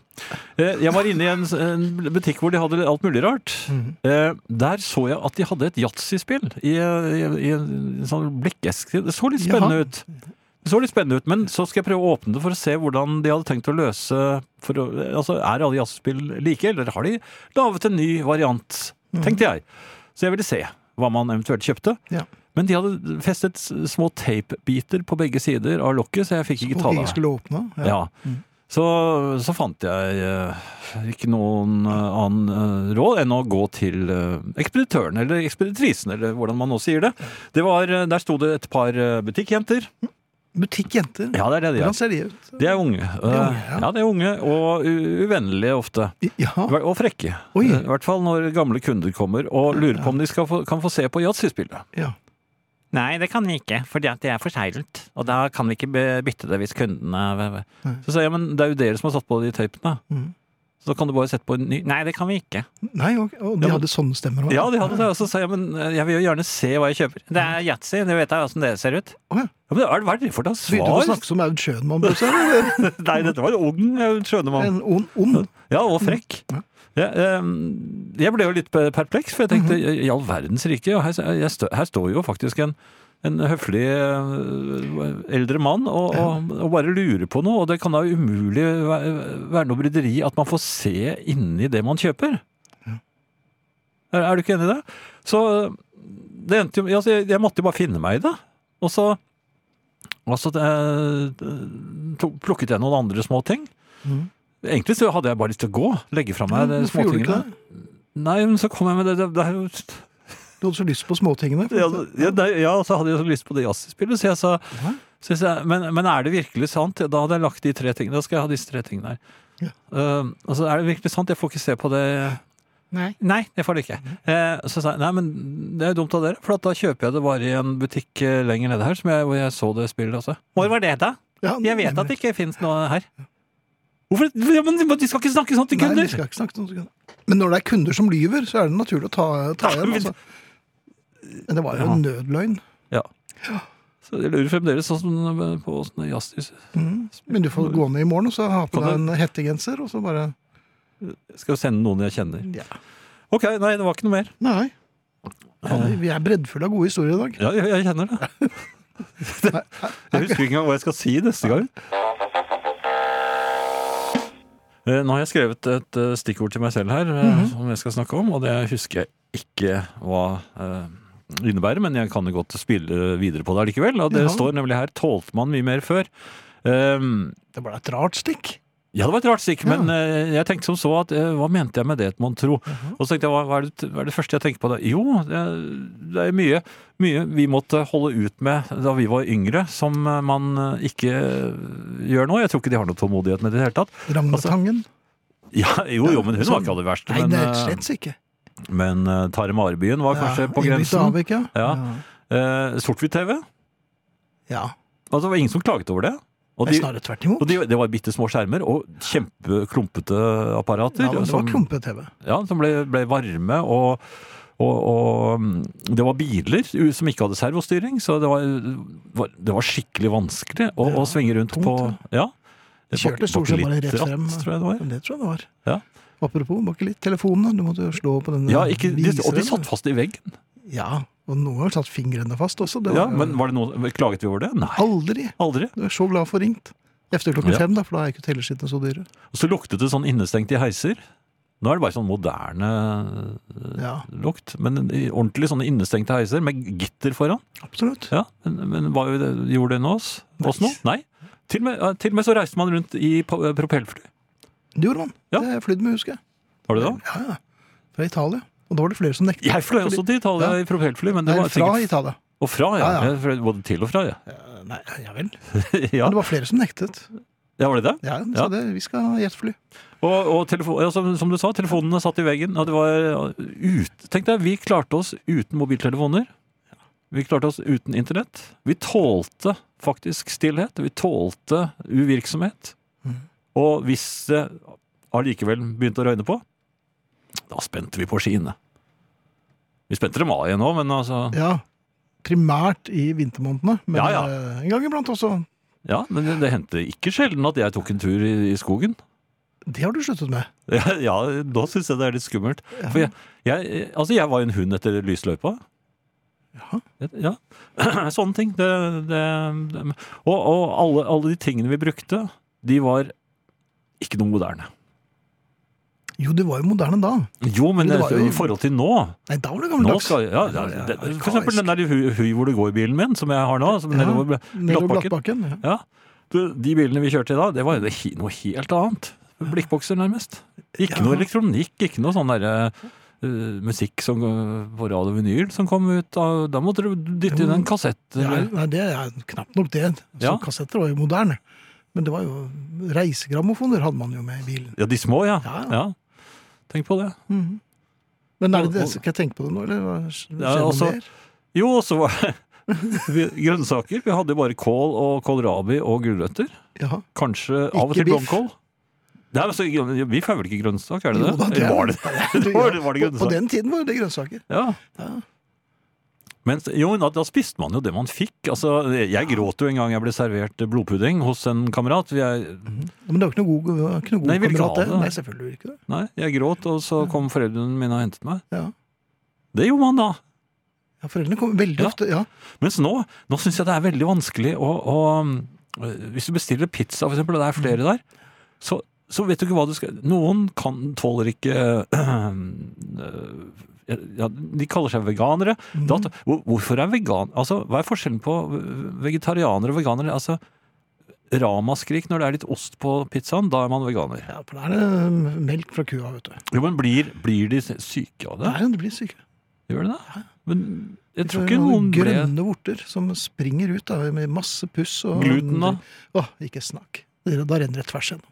Speaker 3: Eh, Jeg var inne i en, s- en butikk hvor de hadde alt mulig rart.
Speaker 2: Mm.
Speaker 3: Eh, Der så jeg at de hadde et yatzyspill i, i, i en sånn blikkeske. Det så litt spennende
Speaker 2: Jaha.
Speaker 3: ut. Det så litt spennende ut, Men så skal jeg prøve å åpne det for å se hvordan de hadde tenkt å løse for, å- altså, Er alle jazzspill like, eller har de laget en ny variant?
Speaker 2: Mm.
Speaker 3: Tenkte jeg. Så jeg ville se hva man eventuelt kjøpte.
Speaker 2: Ja.
Speaker 3: Men de hadde festet s- små teipbiter på begge sider av lokket, så jeg fikk ikke
Speaker 2: Og
Speaker 3: ta
Speaker 2: ingen
Speaker 3: det.
Speaker 2: skulle åpne.
Speaker 3: av. Ja. Mm. Så, så fant jeg eh, ikke noen eh, annen eh, råd enn å gå til eh, ekspeditøren, eller ekspeditrisen, eller hvordan man nå sier det. det var, eh, der sto det et par eh, butikkjenter.
Speaker 2: Butikkjenter.
Speaker 3: Ja, det er det de
Speaker 2: Hvordan
Speaker 3: er.
Speaker 2: ser de ut?
Speaker 3: De er unge. Eh,
Speaker 2: ja.
Speaker 3: Ja, Ah. de er unge, og u- uvennlige ofte.
Speaker 2: Ja.
Speaker 3: Og frekke.
Speaker 2: Oi.
Speaker 3: Eh, I hvert fall når gamle kunder kommer og lurer på om de skal få, kan få se på yatzyspillet.
Speaker 2: ja.
Speaker 3: Nei, det kan vi ikke, fordi at det er forseglet. Og da kan vi ikke be- bytte det hvis kundene
Speaker 2: Nei.
Speaker 3: Så sier jeg, men det er jo dere som har satt på de tøypene.
Speaker 2: Mhm.
Speaker 3: Så da kan du bare sette på en ny Nei, det kan vi ikke.
Speaker 2: Nei, ok. Og
Speaker 3: Ja,
Speaker 2: de
Speaker 3: men-
Speaker 2: hadde sånne stemmer også?
Speaker 3: Ja, de hadde det. Og så sa jeg, men eh, jeg vil jo gjerne se hva jeg kjøper. Det er yatzy, det vet jeg åssen det ser ut.
Speaker 2: Å, ja.
Speaker 3: Ja, men hva er det for noe
Speaker 2: Begynte du å
Speaker 3: svar?
Speaker 2: snakke som Aud Schønmann? plutselig,
Speaker 3: [laughs]
Speaker 2: eller?
Speaker 3: Nei, dette var en ung eh, skjønne mann.
Speaker 2: En ond? ond.
Speaker 3: Ja, og frekk.
Speaker 2: Ja.
Speaker 3: Jeg, eh, jeg ble jo litt pe- perpleks, for jeg tenkte
Speaker 2: Mhm.
Speaker 3: i all verdens rike, ja, her, jeg stø, her står jo faktisk en, en høflig eh, eldre mann og, og, og bare lurer på noe, og det kan da umulig væ- være noe bryderi at man får se inni det man kjøper. Er, er du ikke enig i det? Så eh, det endte jo, altså, jeg, jeg måtte jo bare finne meg i det. Og så, og så eh, tok- plukket jeg noen andre små ting. Egentlig så hadde jeg bare lyst til å gå, legge fra meg
Speaker 2: Mm. Hvorfor gjorde du ikke
Speaker 3: småtingene.
Speaker 2: det?
Speaker 3: Nei, men så kom jeg med det, det, det er jo-
Speaker 2: Du hadde så lyst på småtingene.
Speaker 3: ja, ja, det- ja, så hadde jeg så lyst på det jazzspillet, så jeg sa så jeg, sa, men, men er det virkelig sant? Da hadde jeg lagt de tre tingene. Da skal jeg ha disse tre tingene her.
Speaker 2: Ja.
Speaker 3: Eh, altså, er det virkelig sant? Jeg får ikke se på det
Speaker 2: Nei.
Speaker 3: Nei, det får du ikke. Eh, så sa jeg nei, men det er jo dumt av dere, for at da kjøper jeg det bare i en butikk eh, lenger nede her som jeg, hvor jeg så det spillet også. Hvor var det, da?
Speaker 2: Ja,
Speaker 3: Jeg vet at det ikke fins noe her. Hvorfor? Ja, men De skal ikke snakke sånn til
Speaker 2: Nei, vi
Speaker 3: kunder!
Speaker 2: skal ikke snakke sånn. Men når det er kunder som lyver, så er det naturlig å ta, ta
Speaker 3: Ja, [laughs]
Speaker 2: igjen.
Speaker 3: men-
Speaker 2: Altså. Men det var jo
Speaker 3: Ja.
Speaker 2: en nødløgn.
Speaker 3: Ja. Så jeg lurer fremdeles sånn som på sånn jazzhus.
Speaker 2: Men du får gå ned i morgen og så ha på
Speaker 3: Kan
Speaker 2: deg en hettegenser, og så bare
Speaker 3: Skal jo sende noen jeg kjenner.
Speaker 2: ja.
Speaker 3: Ok, nei, det var ikke noe mer.
Speaker 2: Nei. Fanny, vi er breddfulle av gode historier i dag.
Speaker 3: Ja, jeg, jeg
Speaker 2: [laughs]
Speaker 3: kjenner det. Jeg husker ikke engang hva jeg skal si neste gang. Eh, Nå har jeg skrevet et eh, stikkord til meg selv her, eh,
Speaker 2: Mhm.
Speaker 3: som jeg skal snakke om, og det husker jeg ikke hva eh, innebærer, men jeg kan jo godt spille videre på det likevel. Og det
Speaker 2: Ja.
Speaker 3: står nemlig her 'tålte man mye mer før'. Eh,
Speaker 2: Det var da et rart stikk.
Speaker 3: Ja, det var et rart stikk,
Speaker 2: Ja.
Speaker 3: men eh, jeg tenkte som så at eh, hva mente jeg med det, mon tro?
Speaker 2: Mhm.
Speaker 3: Og så tenkte jeg, hva, hva, er det, hva er det første jeg tenker på da? Jo, det, det er mye, mye vi måtte holde ut med da vi var yngre, som eh, man eh, ikke gjør nå. Jeg tror ikke de har noe tålmodighet med det i det hele tatt. [laughs] Altså-
Speaker 2: Ragnetangen.
Speaker 3: Ja, jo, jo, men hun var
Speaker 2: sånn.
Speaker 3: ikke av det verste.
Speaker 2: Nei,
Speaker 3: Men,
Speaker 2: det er
Speaker 3: eh,
Speaker 2: slett ikke.
Speaker 3: men eh, Tare Marebyen var
Speaker 2: Ja,
Speaker 3: kanskje på
Speaker 2: Ingrid
Speaker 3: grensen.
Speaker 2: Stavik, ja.
Speaker 3: Ja. Eh, Sort-hvitt-TV.
Speaker 2: ja.
Speaker 3: Altså, det var ingen som klaget over det. Og
Speaker 2: Men
Speaker 3: de,
Speaker 2: snarere tvert
Speaker 3: og
Speaker 2: imot.
Speaker 3: de, det var bitte små skjermer og kjempeklumpete apparater.
Speaker 2: Ja, men det var
Speaker 3: som-
Speaker 2: klumpe-TV.
Speaker 3: ja, som ble, ble varme og og, og mm, det var biler u- som ikke hadde servostyring, så det var, var- det var skikkelig vanskelig å, å svinge rundt
Speaker 2: tungt,
Speaker 3: på Ja.
Speaker 2: De kjørte stort sett bare rett frem.
Speaker 3: Tror jeg det var.
Speaker 2: Det tror jeg det var.
Speaker 3: Ja.
Speaker 2: Apropos bakelitt-telefonene, du måtte jo slå på den
Speaker 3: Ja, ikke, de, og de
Speaker 2: viseren.
Speaker 3: satt fast i veggen.
Speaker 2: Ja, og noen ganger satt fingrene fast også. Det var,
Speaker 3: Ja, men var det noe, Klaget vi over det? Nei.
Speaker 2: Aldri!
Speaker 3: Aldri.
Speaker 2: Du er så glad for ringt. Efter klokken
Speaker 3: Ja.
Speaker 2: fem, da, for da er ikke telleskittene så dyre.
Speaker 3: Og så luktet det sånn innestengt i heiser. Nå er det bare sånn moderne eh,
Speaker 2: Ja,
Speaker 3: lukt. Men i ordentlig sånne innestengte heiser med gitter foran.
Speaker 2: absolutt.
Speaker 3: Ja, men, men hva gjorde det nå oss? Oss nå? Nei. Til og, med, ja, til og med så reiste man rundt i pa- eh, propellfly.
Speaker 2: Det gjorde man.
Speaker 3: Ja.
Speaker 2: Det har jeg flydd med, husker jeg.
Speaker 3: Var det da?
Speaker 2: Ja, ja. Fra Italia. Og da var det flere som nektet.
Speaker 3: Jeg fløy også til Italia i propellfly, men det
Speaker 2: Nei,
Speaker 3: var
Speaker 2: fra
Speaker 3: sikkert
Speaker 2: Italia.
Speaker 3: Og fra, ja.
Speaker 2: Ja, ja.
Speaker 3: Jeg fløy både til og fra, ja. [laughs]
Speaker 2: Eh, Nei, ja vel.
Speaker 3: ja.
Speaker 2: Men det var flere som nektet.
Speaker 3: ja var det det?
Speaker 2: Ja, de sa
Speaker 3: Ja.
Speaker 2: det. Vi skal ha jetfly.
Speaker 3: Og, og telefo- ja, som, som du sa, telefonene satt i veggen. Og det var ja, ut, Tenk deg, vi klarte oss uten mobiltelefoner. Vi klarte oss uten internett. Vi tålte faktisk stillhet. Vi tålte uvirksomhet. Og hvis det allikevel begynte å røyne på, da spente vi på skiene. Vi spente dem av igjen nå, men altså
Speaker 2: Ja, primært i vintermånedene, men
Speaker 3: Ja, ja.
Speaker 2: eh, en gang iblant også.
Speaker 3: Ja, men det, det hendte ikke sjelden at jeg tok en tur i, i skogen.
Speaker 2: Det har du sluttet med.
Speaker 3: Ja, ja da syns jeg det er litt skummelt. For jeg, jeg, altså jeg var jo en hund etter lysløypa.
Speaker 2: Ja.
Speaker 3: Ja. [clears throat] Sånne ting. Det, det, det. Og, og alle, alle de tingene vi brukte, de var ikke noe moderne.
Speaker 2: Jo, det var jo moderne da.
Speaker 3: Jo, men
Speaker 2: Men det var jo-
Speaker 3: i forhold til nå
Speaker 2: Nei, da var det
Speaker 3: nå
Speaker 2: gammeldags.
Speaker 3: skal, ja, ja, det, For eksempel den der Hui Hui hvor det går-bilen min, som jeg har nå. Som
Speaker 2: Ja,
Speaker 3: nedover
Speaker 2: Nedover
Speaker 3: glattbakken.
Speaker 2: glattbakken. Ja.
Speaker 3: Ja. Du, de bilene vi kjørte i dag, det var jo det he- noe helt annet. Blikkbokser, nærmest. Ikke
Speaker 2: Ja.
Speaker 3: noe elektronikk, ikke noe sånn derre eh, musikk som, eh, på radio vinyl som kom ut av Da måtte du dytte inn en kassett.
Speaker 2: Ja,
Speaker 3: Eller?
Speaker 2: nei, det er knapt nok det. Så
Speaker 3: Ja.
Speaker 2: Kassetter var jo moderne. Men det var jo reisegrammofoner hadde man jo med i bilen.
Speaker 3: Ja, de små, ja. ja.
Speaker 2: Ja.
Speaker 3: Tenk på det.
Speaker 2: Men er det det?
Speaker 3: Og-
Speaker 2: Skal jeg tenke på det nå, eller hva- skjer
Speaker 3: Ja,
Speaker 2: det noe
Speaker 3: altså-
Speaker 2: mer?
Speaker 3: Jo, og så var [laughs] det vi- grønnsaker. Vi hadde jo bare kål og kålrabi og gulrøtter.
Speaker 2: Ja.
Speaker 3: Kanskje av og
Speaker 2: Ikke
Speaker 3: til
Speaker 2: biff.
Speaker 3: blomkål. Det er, altså, biff er vel ikke grønnsak, er det det?
Speaker 2: Jo da, det er-
Speaker 3: Eller
Speaker 2: [laughs]
Speaker 3: var det det? Var det, var det
Speaker 2: På- På
Speaker 3: grønnsak?
Speaker 2: den tiden var det grønnsaker.
Speaker 3: Ja. Men jo, men da, da spiste man jo det man fikk. Altså, jeg gråt jo en gang jeg ble servert blodpudding hos en kamerat. Jeg,
Speaker 2: Ja, Men det var ikke noe god, det var ikke noe god
Speaker 3: Nei, vil ikke
Speaker 2: kamerat,
Speaker 3: ha
Speaker 2: det.
Speaker 3: det.
Speaker 2: Nei, selvfølgelig vil ikke det.
Speaker 3: nei, jeg gråt, og så kom foreldrene mine og hentet meg.
Speaker 2: Ja.
Speaker 3: Det gjorde man da.
Speaker 2: Ja, foreldrene kom veldig
Speaker 3: Ja.
Speaker 2: ofte. Ja.
Speaker 3: Mens nå, nå syns jeg det er veldig vanskelig å, å øh, Hvis du bestiller pizza, for eksempel, og det er flere der, så, så vet du ikke hva du skal Noen kan, tåler ikke [clears throat] øh, ja, De kaller seg veganere. Da, hvor- hvorfor er vegan... Altså, hva er forskjellen på vegetarianere og veganere? Altså, Ramaskrik når det er litt ost på pizzaen, da er man veganer.
Speaker 2: ja, for da er det um, melk fra kua, vet du.
Speaker 3: Jo, men blir, blir de syke av det?
Speaker 2: Nei, de blir syke.
Speaker 3: Gjør de det? Men jeg
Speaker 2: Det
Speaker 3: tror ikke
Speaker 2: er
Speaker 3: noen ble
Speaker 2: Grønne vorter som springer ut da, med masse puss. Og
Speaker 3: Gluten, da?
Speaker 2: Åh, ikke snakk. Det- Da renner det tvers igjennom.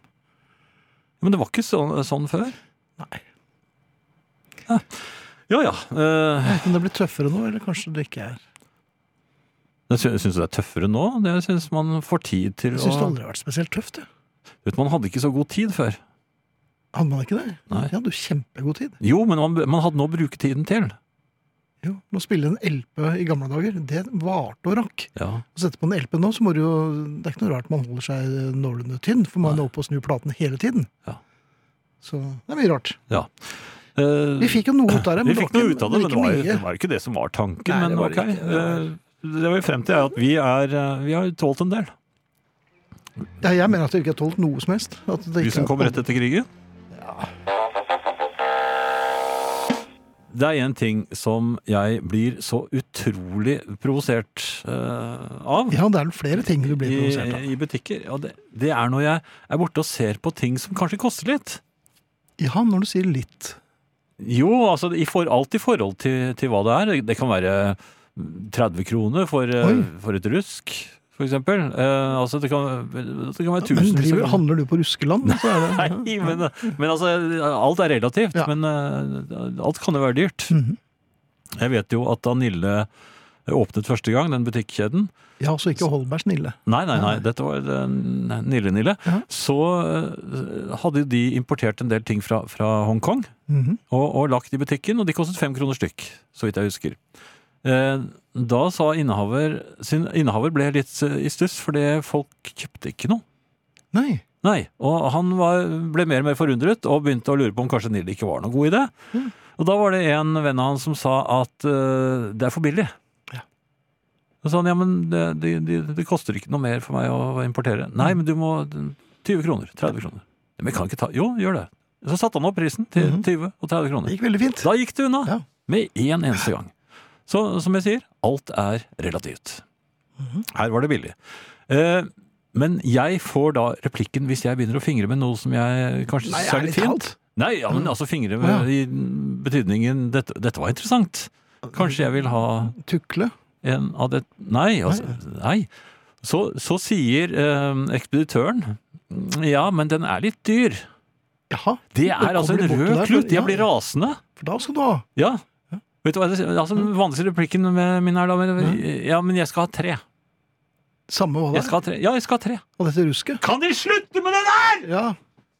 Speaker 3: Men det var ikke sånn, sånn før?
Speaker 2: Nei.
Speaker 3: Ja ja. eh,
Speaker 2: Men det blir tøffere nå, eller kanskje det ikke er.
Speaker 3: Jeg sy- syns det er tøffere nå. Det syns man får tid til
Speaker 2: Jeg
Speaker 3: å
Speaker 2: syns det aldri har vært spesielt tøft. Jeg.
Speaker 3: Vet du, Man hadde ikke så god tid før.
Speaker 2: Hadde man ikke det?
Speaker 3: Nei.
Speaker 2: Jeg hadde jo kjempegod tid.
Speaker 3: Jo, men man, man hadde noe å bruke tiden til.
Speaker 2: Jo, Å spille en LP i gamle dager, det varte og rakk.
Speaker 3: Ja.
Speaker 2: Å sette på en LP nå, så må du jo Det er ikke noe rart man holder seg nålende tynn, for man er oppe og snur platen hele tiden.
Speaker 3: Ja.
Speaker 2: Så det er mye rart.
Speaker 3: ja. Eh,
Speaker 2: Vi fikk jo noe ut av det,
Speaker 3: vi
Speaker 2: men det
Speaker 3: fikk
Speaker 2: var
Speaker 3: noe
Speaker 2: ikke,
Speaker 3: ut av det, men det var, jo-
Speaker 2: ikke
Speaker 3: det
Speaker 2: mye.
Speaker 3: var jo ikke det som var tanken.
Speaker 2: Nei, det
Speaker 3: men
Speaker 2: var
Speaker 3: ok.
Speaker 2: det ikke. Det
Speaker 3: Eh, Det var jo frem til at vi, er, eh, vi har tålt en del.
Speaker 2: Ja, jeg mener at det ikke har tålt noe som helst. At det
Speaker 3: Vi
Speaker 2: ikke
Speaker 3: som
Speaker 2: er-
Speaker 3: kom rett etter krigen. Det er én ting som jeg blir så utrolig provosert eh, av.
Speaker 2: Ja, det er vel flere ting du blir provosert av.
Speaker 3: i, i butikker. Ja, det, det er når jeg er borte og ser på ting som kanskje koster litt.
Speaker 2: Ja, når du sier litt.
Speaker 3: Jo, altså i for, alt i forhold til, til hva det er. Det kan være 30 kroner for, eh,
Speaker 2: Oi.
Speaker 3: for et rusk, for eksempel. Eh, altså det kan, det kan
Speaker 2: Men
Speaker 3: være tusenvis
Speaker 2: driver,
Speaker 3: av kroner.
Speaker 2: handler du på ruskeland, så er det
Speaker 3: Nei, men, men altså, alt er relativt.
Speaker 2: Ja.
Speaker 3: Men eh, alt kan jo være dyrt.
Speaker 2: Mhm.
Speaker 3: Jeg vet jo at da Nille åpnet første gang, den butikkjeden,
Speaker 2: Ja, så ikke Holberg snille.
Speaker 3: Nei, nei, nei. Dette var eh, Nille-Nille.
Speaker 2: Ja.
Speaker 3: Så eh, hadde de importert en del ting fra, fra Hongkong
Speaker 2: Mhm.
Speaker 3: og, og lagt i butikken, og de kostet fem kroner stykk, så vidt jeg husker. Eh, Da sa innehaver sin innehaver ble litt eh, i stuss, fordi folk kjøpte ikke noe.
Speaker 2: Nei.
Speaker 3: Nei, og han var, ble mer og mer forundret og begynte å lure på om kanskje Nille ikke var noen god idé. Og da var det en venn av han som sa at eh, det er for billig.
Speaker 2: Ja.
Speaker 3: Da sa han ja, men det, det, det, det koster ikke noe mer for meg å importere. Nei, men du må 20 kroner, 30 kroner. Men jeg kan ikke ta Jo, gjør det. Så satte han opp prisen til 20 og 30 kroner.
Speaker 2: Det gikk veldig fint.
Speaker 3: Da gikk det unna.
Speaker 2: Ja.
Speaker 3: Med én eneste gang. Så som jeg sier, alt er relativt.
Speaker 2: Mhm.
Speaker 3: Her var det billig. Eh, men jeg får da replikken hvis jeg begynner å fingre med noe som jeg kanskje
Speaker 2: Nei,
Speaker 3: ser litt
Speaker 2: ærlig
Speaker 3: fint.
Speaker 2: talt. Mm.
Speaker 3: Nei, ja, men altså fingre med,
Speaker 2: Å, ja.
Speaker 3: i betydningen dette, dette var interessant. Kanskje jeg vil ha
Speaker 2: Tukle.
Speaker 3: en av det Nei, altså. Nei. Så, så sier eh, ekspeditøren ja, men den er litt dyr.
Speaker 2: Jaha.
Speaker 3: Det
Speaker 2: Da
Speaker 3: er altså
Speaker 2: kommer
Speaker 3: en
Speaker 2: du bort til
Speaker 3: rød
Speaker 2: der,
Speaker 3: klut.
Speaker 2: ja,
Speaker 3: Jeg blir
Speaker 2: ja.
Speaker 3: rasende.
Speaker 2: For da skal du ha
Speaker 3: Ja. Vet du hva, det- altså, den vanligste replikken med min er da men, Ja, men jeg skal ha tre.
Speaker 2: Samme hva
Speaker 3: Jeg
Speaker 2: det er.
Speaker 3: skal ha tre. Ja, jeg skal ha tre.
Speaker 2: Og dette rusket.
Speaker 3: Kan de slutte med det der?!
Speaker 2: Ja.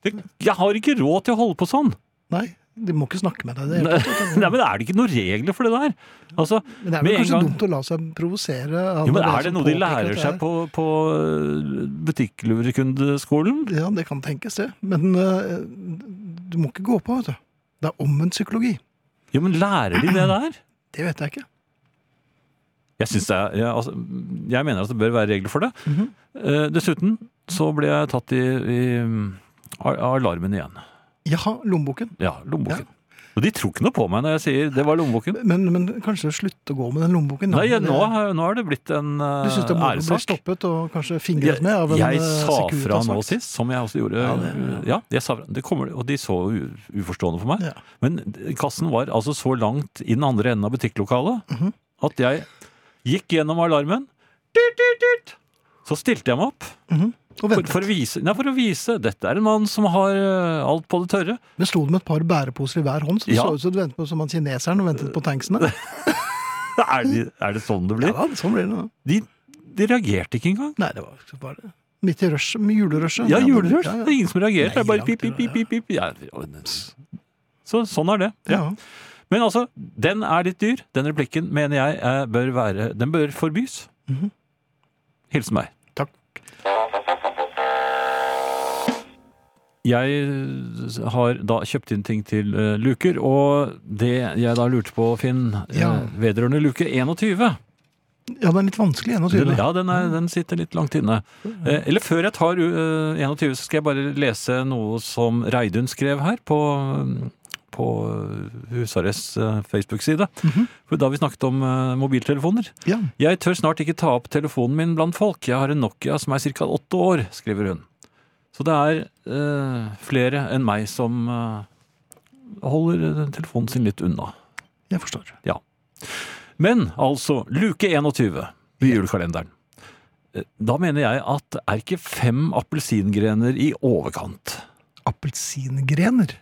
Speaker 3: Det, jeg har ikke råd til å holde på sånn.
Speaker 2: Nei, de må ikke snakke med deg. Det.
Speaker 3: [laughs] Nei, men er det ikke noen regler for det der? Altså,
Speaker 2: Men det er
Speaker 3: med
Speaker 2: vel
Speaker 3: en
Speaker 2: kanskje
Speaker 3: gang-
Speaker 2: dumt å la seg provosere. av
Speaker 3: jo, men
Speaker 2: som
Speaker 3: er sånn det noe de
Speaker 2: påpeker at
Speaker 3: lærer
Speaker 2: det
Speaker 3: seg
Speaker 2: er-
Speaker 3: på, på øh, butikklurekundeskolen?
Speaker 2: Ja, det kan tenkes, det. Men eh, du må ikke gå på, vet du. Det er omvendt psykologi.
Speaker 3: Jo, men lærer de det der?
Speaker 2: Det vet jeg ikke.
Speaker 3: Jeg, synes det er, jeg, altså, jeg mener at det bør være regler for det. Eh, dessuten så ble jeg tatt i, i mm, a- alarmen igjen.
Speaker 2: Jaha, lommeboken.
Speaker 3: Ja, lommeboken. Og de tror ikke noe på meg når jeg sier det var lommeboken.
Speaker 2: Men, men kanskje slutte å gå med den lommeboken? da.
Speaker 3: Nei, jeg,
Speaker 2: Det-
Speaker 3: nå, nå er det blitt en eh,
Speaker 2: Du syns det er moro å bli
Speaker 3: æressak.
Speaker 2: stoppet og kanskje
Speaker 3: Jeg,
Speaker 2: fingret med av en
Speaker 3: jeg
Speaker 2: eh,
Speaker 3: sa fra nå
Speaker 2: Securitas-vakt?
Speaker 3: sist, som jeg også gjorde. Ja,
Speaker 2: Ja, det-
Speaker 3: jeg sa fra. Det kommer, og de så u- uforstående for meg.
Speaker 2: Ja.
Speaker 3: Men kassen var altså så langt i den andre enden av butikklokalet
Speaker 2: Mhm.
Speaker 3: at jeg gikk gjennom alarmen. Dyrt, dyrt, dyrt. Så stilte jeg meg opp
Speaker 2: Og
Speaker 3: for,
Speaker 2: ventet.
Speaker 3: for, å vise, nei, for å vise dette er en mann som har eh, alt på det tørre.
Speaker 2: Men sto det med et par bæreposer i hver hånd, så det
Speaker 3: Ja.
Speaker 2: så ut som du ventet på som han kineseren og ventet på
Speaker 3: [laughs]
Speaker 2: tanksene?
Speaker 3: Er det, er det sånn det
Speaker 2: Ja
Speaker 3: blir?
Speaker 2: da, sånn blir det nå.
Speaker 3: De, de reagerte ikke engang.
Speaker 2: Nei, det var ikke bare Midt i rushet, med julerushet.
Speaker 3: Ja,
Speaker 2: det-
Speaker 3: julerørt.
Speaker 2: ja,
Speaker 3: Det er ingen som reagerer. Det er bare
Speaker 2: Nei,
Speaker 3: pip, pip,
Speaker 2: langt
Speaker 3: pip,
Speaker 2: unna,
Speaker 3: pip, pip. Ja, det- så sånn er det.
Speaker 2: Ja.
Speaker 3: Ja. Men altså, den er litt dyr. Den replikken mener jeg eh, bør være Den bør forbys. Hilsen meg.
Speaker 2: Mhm. Takk.
Speaker 3: Jeg eh, har da kjøpt inn ting til eh, luker, og det jeg da lurte på, Finn, eh,
Speaker 2: Ja.
Speaker 3: vedrørende luke 21
Speaker 2: ja, den er litt vanskelig, 21.
Speaker 3: den, Ja, den, er, den sitter litt langt inne. Eh, eller før jeg tar eh, 21, så skal jeg bare lese noe som Reidun skrev her på, mm, på Husarrests eh, Facebook-side. For Da vi snakket om eh, mobiltelefoner.
Speaker 2: Ja.
Speaker 3: Jeg tør snart ikke ta opp telefonen min blant folk. Jeg har en Nokia som er ca. åtte år, skriver hun. Så det er eh, flere enn meg som eh, holder eh, telefonen sin litt unna.
Speaker 2: Jeg forstår.
Speaker 3: Men altså, luke 21 i julekalenderen. Eh, Da mener jeg at er ikke fem appelsingrener i overkant?
Speaker 2: Appelsingrener.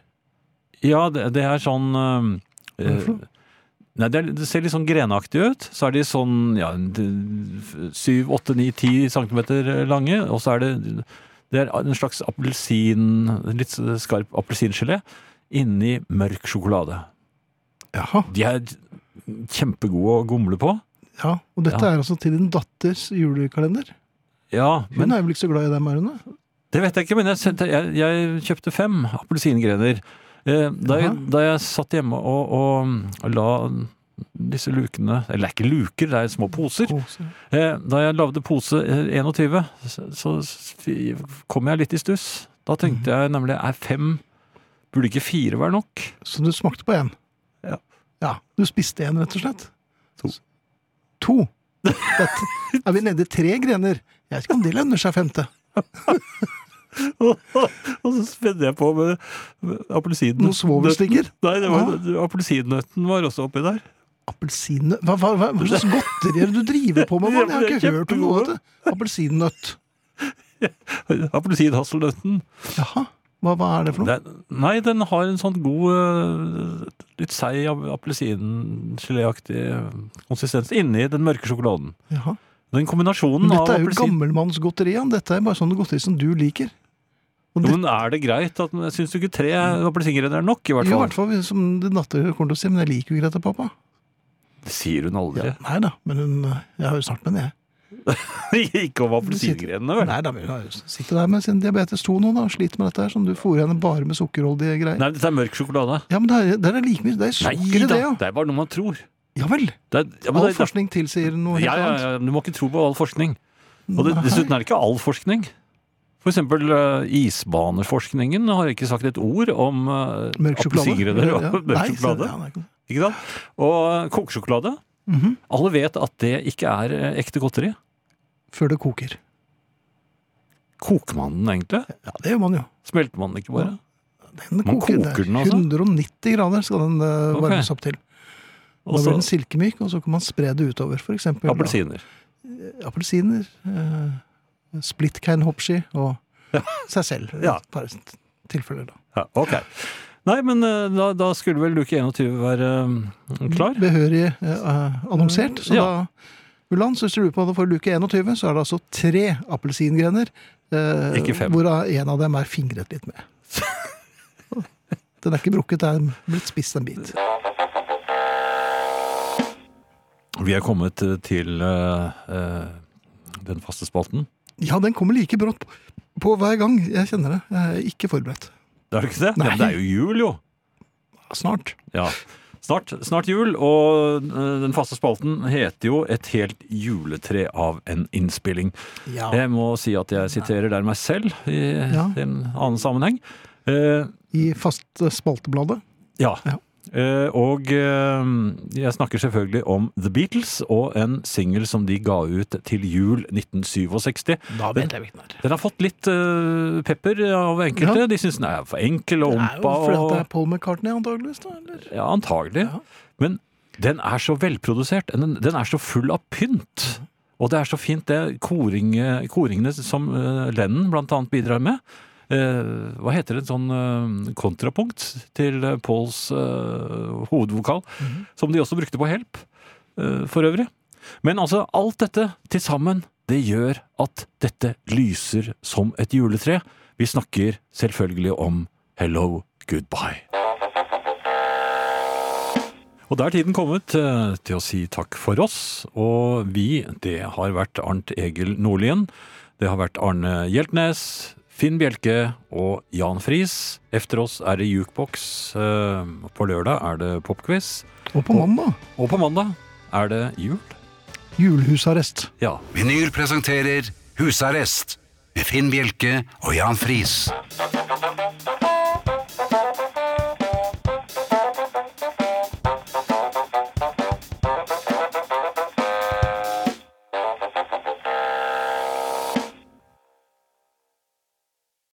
Speaker 3: Ja, det, det er sånn eh,
Speaker 2: Hva er det for noe?
Speaker 3: Nei, det, er, det ser litt sånn grenaktig ut. Så er de sånn ja, syv, åtte, ni, ti centimeter lange. Og så er det, det er en slags appelsin Litt skarp appelsingelé inni mørk sjokolade.
Speaker 2: Jaha.
Speaker 3: De er kjempegode å gomle på.
Speaker 2: Ja. Og dette
Speaker 3: Ja.
Speaker 2: er altså til din datters julekalender.
Speaker 3: Ja,
Speaker 2: Hun er vel ikke så glad i dem, er hun det?
Speaker 3: Det vet jeg ikke, men jeg, sendte, jeg, jeg kjøpte fem appelsingrener. Eh, da, jeg,
Speaker 2: Jaha.
Speaker 3: da jeg satt hjemme og, og, la disse lukene Eller det er ikke luker, det er små poser.
Speaker 2: Poser.
Speaker 3: Eh, da jeg lagde pose eh, 21, så, så fi- kom jeg litt i stuss. Da
Speaker 2: Mhm.
Speaker 3: tenkte jeg nemlig er fem Burde ikke fire være
Speaker 2: [laughs]
Speaker 3: nok?
Speaker 2: Så du smakte på én?
Speaker 3: Ja.
Speaker 2: ja. Du spiste én, rett og slett?
Speaker 3: To.
Speaker 2: To? Dette, er vi nede i tre grener? Jeg vet ikke om det lønner seg femte.
Speaker 3: og så spente jeg på med, med appelsinen.
Speaker 2: Noen svovelstikker?
Speaker 3: Nei, det var-
Speaker 2: Ah.
Speaker 3: appelsinnøtten var også oppi der.
Speaker 2: Appelsinene hva, hva, hva, hva slags godteri er det du driver på med? mann? Jeg har
Speaker 3: Det
Speaker 2: ikke
Speaker 3: er
Speaker 2: hørt om noe av
Speaker 3: kjempegode.
Speaker 2: det. Appelsinnøtt.
Speaker 3: Appelsinhasselnøtten.
Speaker 2: Jaha. Hva, hva er det for noe?
Speaker 3: Det, nei, den har en sånn god, øh, litt seig ap- appelsingeléaktig øh, konsistens inni den mørke sjokoladen.
Speaker 2: Jaha.
Speaker 3: Den kombinasjonen
Speaker 2: Men
Speaker 3: av
Speaker 2: dette er jo
Speaker 3: appelsin
Speaker 2: gammelmannsgodteri. Jan. Dette er bare sånne godteri som du liker.
Speaker 3: Jo, Men er det greit? at Syns du ikke tre appelsingrener er nok? i hvert
Speaker 2: Jo, I
Speaker 3: fall?
Speaker 2: hvert fall som din datter kommer til å si, men jeg liker jo Grete pappa.
Speaker 3: Det sier hun aldri.
Speaker 2: Ja, nei da, men hun Jeg har jo snart med den, jeg.
Speaker 3: [laughs] ikke om appelsingrenene, vel? Nei.
Speaker 2: Nei da, men hun har jo- sitter der med sin diabetes 2 nå, da, og sliter med dette her, som du fôrer henne bare med sukkerholdige greier.
Speaker 3: dette er mørk sjokolade.
Speaker 2: Ja, men der, der er like mye Det er
Speaker 3: Nei
Speaker 2: sukker i
Speaker 3: da,
Speaker 2: det, ja.
Speaker 3: det er bare noe man tror.
Speaker 2: Ja vel.
Speaker 3: Det er, ja, men
Speaker 2: All
Speaker 3: det, det,
Speaker 2: forskning tilsier noe helt
Speaker 3: ja, ja,
Speaker 2: annet.
Speaker 3: ja, du må ikke tro på all forskning. Og det, dessuten er det ikke all forskning. For eksempel eh, isbaneforskningen har ikke sagt et ord om eh,
Speaker 2: Mørk sjokolade.
Speaker 3: appelsingrener og
Speaker 2: Ja. Nei,
Speaker 3: [laughs] mørk sjokolade.
Speaker 2: så- ja, nei.
Speaker 3: Ikke sant? Og eh, kokesjokolade.
Speaker 2: Mhm.
Speaker 3: Alle vet at det ikke er eh, ekte godteri.
Speaker 2: Før det koker.
Speaker 3: Koker man den egentlig?
Speaker 2: Ja, det gjør man jo.
Speaker 3: Smelter man den ikke bare?
Speaker 2: Den
Speaker 3: Man
Speaker 2: koker, der.
Speaker 3: koker den, altså?
Speaker 2: 190 grader skal den eh,
Speaker 3: Ok.
Speaker 2: varmes opp til. Da
Speaker 3: Og
Speaker 2: blir
Speaker 3: så
Speaker 2: den silkemyk, og så kan man spre det utover. For eksempel, da,
Speaker 3: appelsiner.
Speaker 2: appelsiner, eh, split can hopshi og seg selv.
Speaker 3: Ja.
Speaker 2: Et par tilfeller, da.
Speaker 3: Ja, ok. Nei, men eh, da, da skulle vel luke 21 være eh, klar?
Speaker 2: Behørig eh, annonsert. Så
Speaker 3: Ja.
Speaker 2: da, Mulan, så hvis du lurer på hva det får i luke 21, så er det altså tre appelsingrener. eh,
Speaker 3: Ikke fem.
Speaker 2: Hvorav en av dem er fingret litt med. Den er ikke brukket, det er blitt spist en bit.
Speaker 3: Vi er kommet eh, til eh, eh, den faste spalten.
Speaker 2: Ja, den kommer like brått på, på hver gang. Jeg kjenner det. Jeg er ikke forberedt.
Speaker 3: Er det ikke det?
Speaker 2: Nei.
Speaker 3: Ja, men det er jo jul, jo!
Speaker 2: Snart.
Speaker 3: Ja. Snart, snart jul, og eh, den faste spalten heter jo 'Et helt juletre av en innspilling'.
Speaker 2: Ja.
Speaker 3: Jeg må si at jeg siterer der meg selv i
Speaker 2: Ja.
Speaker 3: en annen sammenheng. Eh,
Speaker 2: I fast spaltebladet.
Speaker 3: ja.
Speaker 2: Ja.
Speaker 3: Eh, og eh, jeg snakker selvfølgelig om The Beatles og en singel som de ga ut til jul 1967.
Speaker 2: Da
Speaker 3: vet
Speaker 2: jeg hvilken det
Speaker 3: Den har fått litt eh, pepper av enkelte.
Speaker 2: Ja.
Speaker 3: De syns den er for enkel og
Speaker 2: Det er jo
Speaker 3: ompa.
Speaker 2: fordi at det
Speaker 3: og-
Speaker 2: er Paul McCartney, antageligvis. da, eller?
Speaker 3: Ja, antagelig.
Speaker 2: Ja.
Speaker 3: Men den er så velprodusert. Den, den er så full av pynt. Og det er så fint, det koring, koringene som eh, Lennon blant annet bidrar med. Eh, hva heter det, en sånn eh, kontrapunkt til eh, Pauls eh, hovedvokal,
Speaker 2: Mhm.
Speaker 3: som de også brukte på Help, eh, for øvrig. Men altså, alt dette til sammen, det gjør at dette lyser som et juletre. Vi snakker selvfølgelig om Hello Goodbye. Og da er tiden kommet eh, til å si takk for oss. Og vi, det har vært Arnt Egil Nordlien. Det har vært Arne Hjeltnes, Finn Bjelke og Jan Friis. Efter oss er det Jukebox. eh, På lørdag er det popquiz.
Speaker 2: Og på mandag.
Speaker 3: Og på mandag er det jul.
Speaker 2: Julehusarrest.
Speaker 3: Ja.
Speaker 1: Vinyl presenterer Husarrest med Finn Bjelke og Jan Friis.